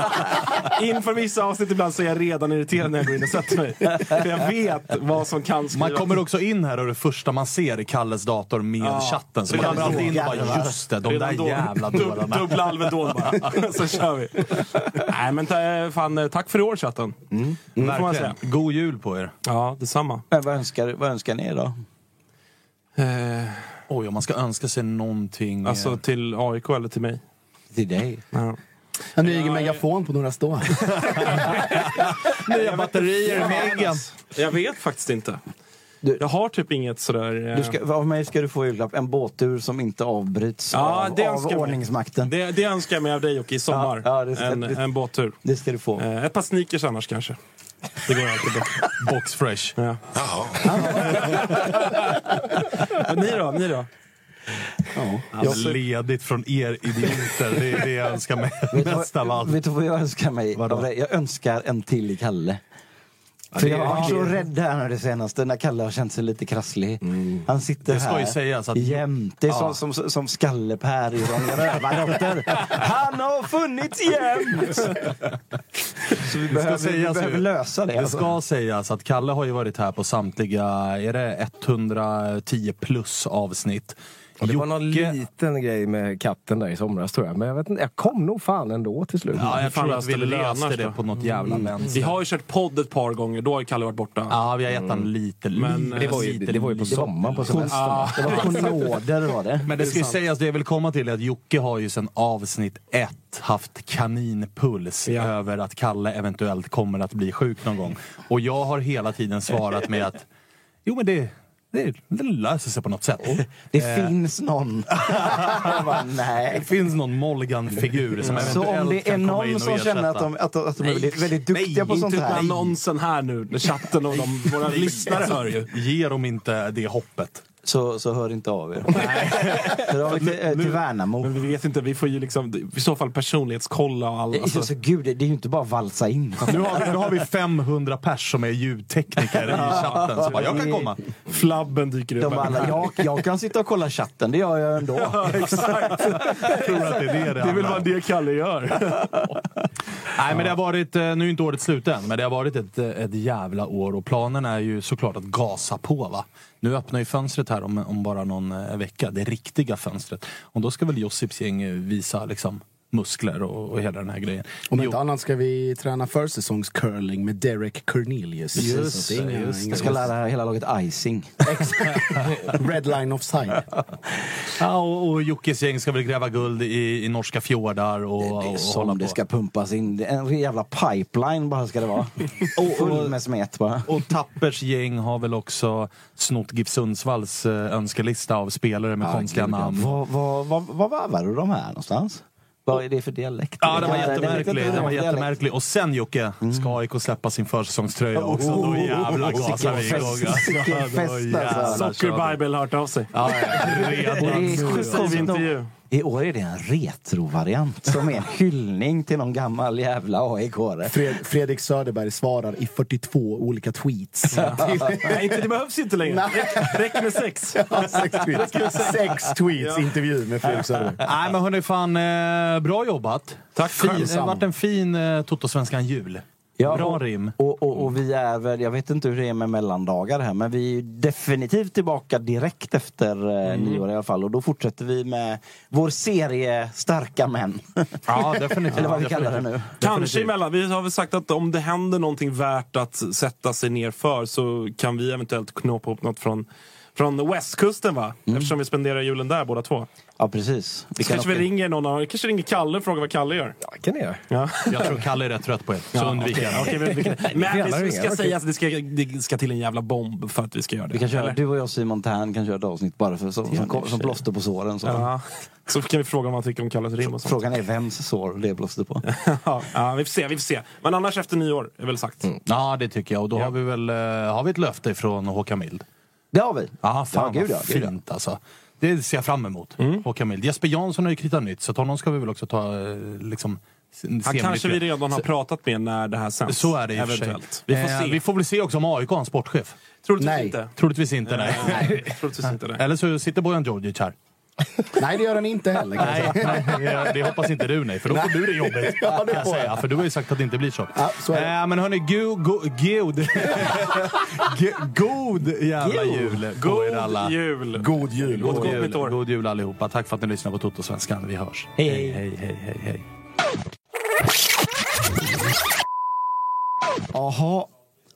S5: Inför vissa avsnitt ibland så är jag redan irriterad när jag går in och sätter mig. För jag vet vad som kan skrivas.
S3: Man kommer också in här och det första man ser är Kalles dator med chatten. Så man
S5: Redan
S3: kommer alltid
S5: då.
S3: in och bara just det, de
S5: Redan
S3: där
S5: då.
S3: jävla
S5: Dub-
S3: dårarna.
S5: Dubbla Alvedon bara,
S3: [laughs]
S5: så kör vi. Nej men ta, fan, eh, tack för i år chatten.
S6: Mm.
S5: Det får man säga.
S3: Verkligen. God jul på er.
S5: Ja, detsamma.
S6: Men vad, önskar, vad önskar ni då?
S5: Eh,
S3: Oj, om man ska önska sig någonting. eh,
S5: alltså till AIK eller till mig.
S6: Till dig.
S5: Ja.
S2: En ny megafon på några stå.
S3: nya batterier med äggen.
S5: Jag vet faktiskt inte.
S6: Du-
S5: jag har typ inget sådär... eh,
S6: Du ska, av mig ska du få i julklapp en båttur som inte avbryts
S5: Ja,
S6: av,
S5: det
S6: av
S5: önskar jag mig.
S6: ordningsmakten. Det,
S5: det, det önskar jag mig av dig Jocke i sommar.
S6: Ja, ja, det ska-
S5: en,
S6: det-
S5: en båttur.
S6: ska du få.
S5: Eh, ett par sneakers annars kanske. Det går alltid bra.
S3: Box fresh.
S5: Ja. Men ni då? Ni då?
S3: Alltså, ledigt från er idioter. Det är det jag önskar mig
S6: Vet du vad-
S3: mest av allt.
S6: Vet du vad jag önskar mig?
S3: Vadå?
S6: av dig? Jag önskar en till i Kalle. För jag har varit så rädd här nu det senaste, när Kalle har känt sig lite krasslig. Han sitter
S3: Mm. Det ska
S6: här
S3: ju sägas att-
S6: jämt. Det är
S3: Ja.
S6: som, som, som Skalle-Per i Ronny
S3: [laughs]
S6: Rövardotter. Han har funnits jämt! Så vi behöver, vi
S3: sägas
S6: behöver
S3: ju-
S6: lösa det.
S3: Det
S6: alltså.
S3: ska sägas att Kalle har ju varit här på samtliga, är det 110 plus avsnitt.
S4: Och det var någon
S3: Jocke-
S4: liten grej med katten där i somras tror jag. Men jag, vet inte, jag kom nog fan ändå till slut.
S3: Ja, jag
S5: Fan,
S3: tror att
S5: löste
S3: vi
S5: det
S3: löste
S5: annars
S3: det Mm.
S5: då. Mm.
S3: på något jävla vänster.
S5: Vi har ju kört podd ett par gånger, då har Kalle varit borta. Mm.
S3: Ja, vi har gett han lite,
S5: Men, eh,
S3: lite,
S5: det var
S3: lite,
S4: det var ju på
S3: lite.
S4: sommaren på semestern.
S6: Det
S3: [laughs]
S6: var konoder var det.
S3: Men det ska ju sägas, det jag vill komma till är att Jocke har ju sedan avsnitt ett haft kaninpuls
S5: Ja.
S3: över att Kalle eventuellt kommer att bli sjuk någon gång. Och jag har hela tiden svarat med att jo men det, det, det löser sig på något sätt.
S6: [laughs] Det
S3: Eh,
S6: finns någon. [laughs] Jag bara,
S3: Det
S6: nej.
S3: finns någon Molgan-figur som
S6: Så om
S3: eventuellt
S6: det är
S3: kan komma in
S6: någon
S3: och
S6: som
S3: ersätta.
S6: känner att de, att, de- att de är väldigt, väldigt duktiga på
S5: inte
S6: sånt
S5: ut med
S6: här.
S5: annonsen här nu, när chatten och de, våra lyssnare hör ju.
S3: Ge dem inte det hoppet.
S6: så, så hör inte av er. Hör av er till, eh, till Värnamo.
S5: Men vi vet inte, vi får ju liksom i så fall personlighetskolla och allt.
S6: Alltså,
S5: Alltså,
S6: gud, det det är ju inte bara att valsa in.
S3: Nu har, vi, nu
S6: [laughs]
S3: har vi 500 pers som är ljudtekniker i chatten. Så bara, jag kan komma.
S5: flabben dyker upp.
S6: De
S5: här.
S6: alla, jag, jag kan sitta och kolla chatten, det gör jag ändå.
S3: Jag tror att det är det det
S5: Det är väl
S3: handlar om.
S5: vad det Kalle gör.
S3: Nej, men det har varit, eh, nu är inte året slut än, men det har varit ett, eh, ett jävla år och planen är ju såklart att gasa på. Va? Nu öppnar ju fönstret här om, om bara någon eh, vecka, det riktiga fönstret. Och då ska väl Josips gäng eh, visa liksom, muskler och, och hela den här
S6: [laughs]
S3: grejen.
S2: Om
S3: Jo,
S2: inte annat ska vi träna försäsongscurling med Derek Cornelius.
S3: Just
S2: Så det är inga-
S3: det, just det.
S2: inga-
S6: Jag ska lära [laughs] hela laget icing.
S2: Red line offside.
S3: ja, och, och Jockes gäng ska väl gräva guld i, i norska fjordar och,
S6: Det är
S3: och
S6: som det
S3: på.
S6: ska pumpas in. Det är En jävla pipeline bara ska
S3: [laughs]
S6: det vara. Full med smet bara.
S3: Och Tappers gäng har väl också snott GIF Sundsvalls eh, önskelista av spelare med konstiga namn.
S6: Vad vad- vad- vad varvar du de här någonstans? Vad är det för dialekt?
S3: Ja, den var
S6: Jag vet inte
S3: jättemärklig.
S6: vad
S3: Den var
S6: för dialekt.
S3: jättemärklig. Och sen Jocke, ska AIK släppa sin försäsongströja också. Då jävlar
S6: Mm. Oh,
S3: gasar vi
S6: vilken
S3: igång.
S6: fest,
S3: alltså.
S6: vilken
S3: Då
S6: fest,
S3: jävlar
S6: alltså.
S3: kör vi.
S5: Sockerbibel har hört av sig.
S3: Ja, ja,
S6: Och det
S3: redan.
S6: är sjukt
S5: Säger vi
S6: konstigt nog-
S5: intervju.
S6: I år är det en retrovariant
S5: [laughs]
S6: som är en hyllning till någon gammal jävla AIK-are.
S2: Fred- Fredrik Söderberg svarar i 42 olika tweets. [laughs]
S6: [laughs]
S5: Nej, inte, det behövs inte längre. Räck- Räcker med sex.
S2: Ja, Sex tweets, Sex tweets
S5: Ja.
S2: intervju med Fredrik Söderberg.
S3: Nej men hörni, fan eh, bra jobbat.
S5: Tack,
S3: fin, Det
S5: självsam.
S3: har varit en fin eh, Toto-svenskan-jul.
S6: Ja,
S3: bra
S6: och,
S3: rim.
S6: Och, och, och vi är väl, jag vet inte hur det är med mellandagar här, men vi är ju definitivt tillbaka direkt efter eh,
S5: Mm.
S6: nyår i alla fall. Och då fortsätter vi med vår serie Starka män.
S3: Ja, definitivt.
S6: [laughs] Eller vad vi kallar det nu.
S5: Kanske emellan. Vi har väl sagt att om det händer någonting värt att sätta sig ner för så kan vi eventuellt knåpa upp något från, från västkusten va? Eftersom vi spenderar julen där båda två.
S6: Mm. Ja, precis. Vi
S5: Så kanske vi
S6: åka-
S5: ringer någon av kanske ringer Kalle och frågar vad Kalle gör.
S4: Ja, kan ni göra.
S3: Jag tror Kalle är rätt trött på er, så undvik
S5: okej,
S3: gärna.
S5: okej,
S3: [laughs]
S5: vi- vi kan- Men
S4: jävlar
S5: det
S4: ringer,
S5: ska
S4: okej.
S5: sägas, det ska, det ska till en jävla bomb för att vi ska göra det.
S6: vi kan köra,
S5: Eller?
S6: du och jag Simon Tern kan köra ett avsnitt bara för, som, som, som plåster på såren. Så. [laughs]
S5: Ja. Så kan vi fråga vad han tycker om Kalles rim och sånt.
S6: Frågan är vems sår det är
S5: [laughs]
S6: plåster på.
S5: Ja, ja, vi får se, vi får se. Men annars efter nyår, är väl sagt.
S6: Mm.
S3: Ja, det tycker jag. Och då har vi väl eh, har vi ett löfte från Håkan Mild.
S6: Det har vi.
S3: Ja, fan
S6: ja, gud, ja,
S3: vad
S6: gud, ja.
S3: fint alltså. Det ser jag fram emot. Håkan Mild. Jesper Jansson har ju kritat nytt, så att honom ska vi väl också ta eh, liksom,
S5: Han kanske vi
S3: seminyttja.
S5: redan har pratat med när det här sänds.
S3: Så är det i och för sig.
S5: Eventuellt. Vi får
S3: Eh,
S5: se.
S3: vi får väl se också om AIK har en sportchef.
S5: Troligtvis
S2: Nej.
S5: inte.
S3: Troligtvis inte, nej.
S5: Eh, Nej. Troligtvis inte det.
S3: Eller så sitter Bojan Djordjic här.
S2: Nej, det gör han inte heller. kan jag säga.
S3: Nej, nej, det hoppas inte du nej, för då får du det jobbigt.
S2: Ja, det
S3: kan jag
S2: får jag.
S3: säga, för du har ju sagt att det inte blir så.
S2: Ja, så är det.
S3: Nej, men hörni, gu, go, gud. G- god jävla
S5: God.
S3: jul på er alla.
S5: God jul!
S2: God jul.
S5: God
S3: God
S5: gott
S3: jul,
S5: nytt år.
S3: god jul allihopa. Tack för att ni lyssnar på Toto-svenskan. Vi hörs.
S6: hej.
S3: hej, hej, hej, hej.
S6: Jaha,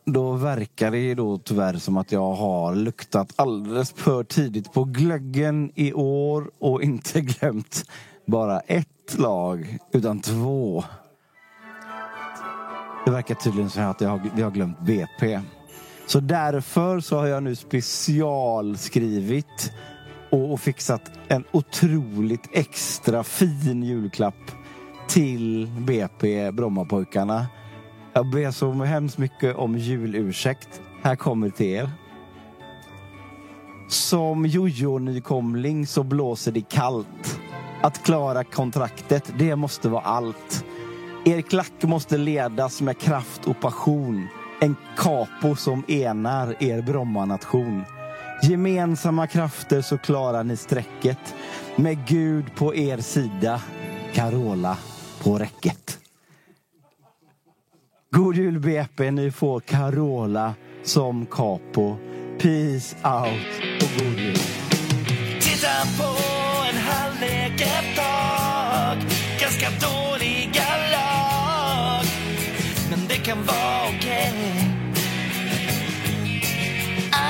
S6: då verkar det ju då tyvärr som att jag har luktat alldeles för tidigt på glöggen i år och inte [laughs] glömt bara ett lag, utan två. Det verkar tydligen så här att jag har, jag har glömt BP. Så därför så har jag nu specialskrivit och, och fixat en otroligt extra fin julklapp till BP Brommapojkarna. Jag ber så hemskt mycket om julursäkt. Här kommer till er. Som jojo-nykomling så blåser det kallt. Att klara kontraktet, det måste vara allt. Er klack måste ledas med kraft och passion. En capo som enar er Brommanation. Gemensamma krafter så klarar ni strecket. Med Gud på er sida, Carola på räcket. God jul BP, ni får Carola som capo. Peace out och god jul.
S8: Titta på en halvlek ett tag Ganska dåliga lag Men det kan vara okej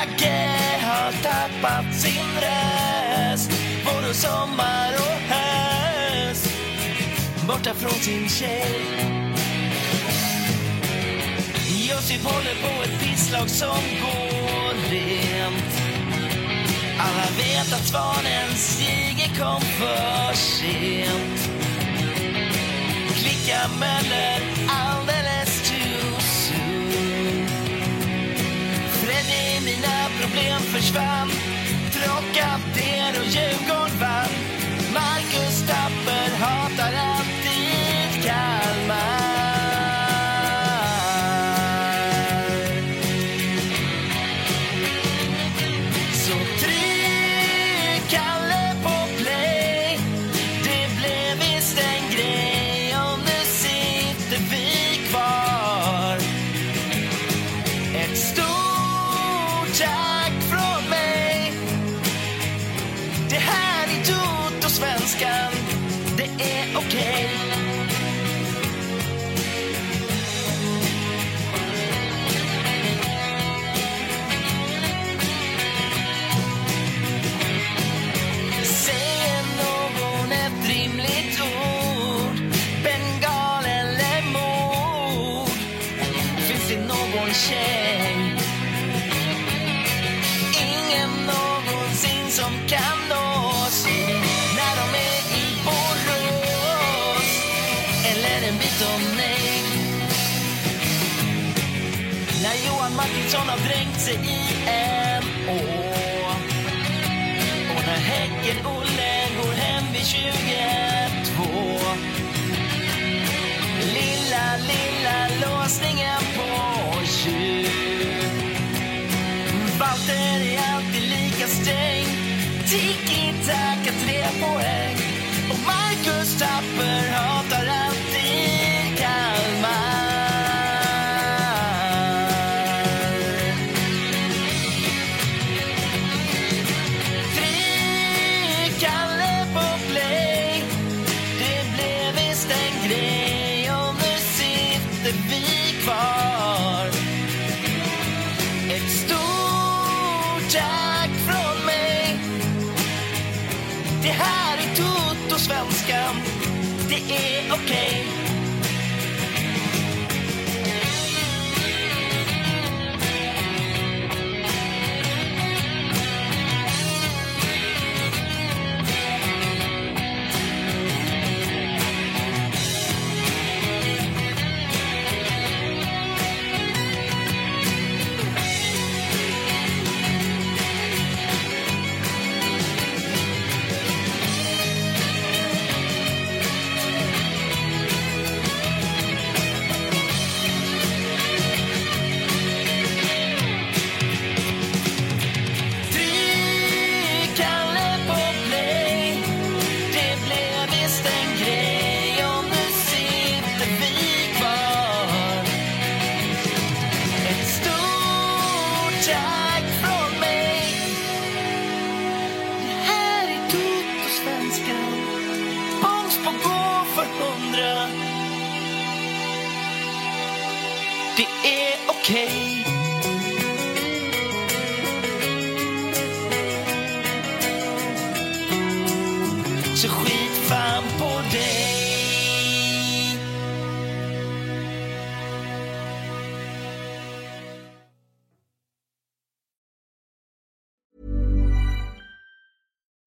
S8: Agge har tappat sin röst Både sommar och höst Borta från sin tjej Josip håller på ett pisslag som går rent alla vet att svanen Stige kom för sent Klicka Möller alldeles too soon Freddy, mina problem försvann Trocadero, Djurgården vann Marcus Tapper hatar alltid Kalmar Så tryck Kalle på play Det blev visst en grej Om nu sitter vi kvar Ett stort tack från mig Det här är Toto-svenskan Det är okej Säger någon ett rimligt ord Bengal eller mord Finns det någon tjej Ingen någonsin som kan nås När de är i Borås Eller en bit om nej När Johan Martinsson har dränkt sig i en å och när Häcken-Olle går hem vid 22 Lilla, lilla låsningen på 20 Walter är alltid lika stängd Tiki-taka, tre poäng Och Marcus Tapper hatar alltid Kalmar Tryck Kalle på play Det blev visst en grej Och nu sitter vi kvar Ett stort tack från mig Det här är Toto-svenskan Det är okej väskan. Bångs på gå för hundra. Det är okej. Så skit fan på dig.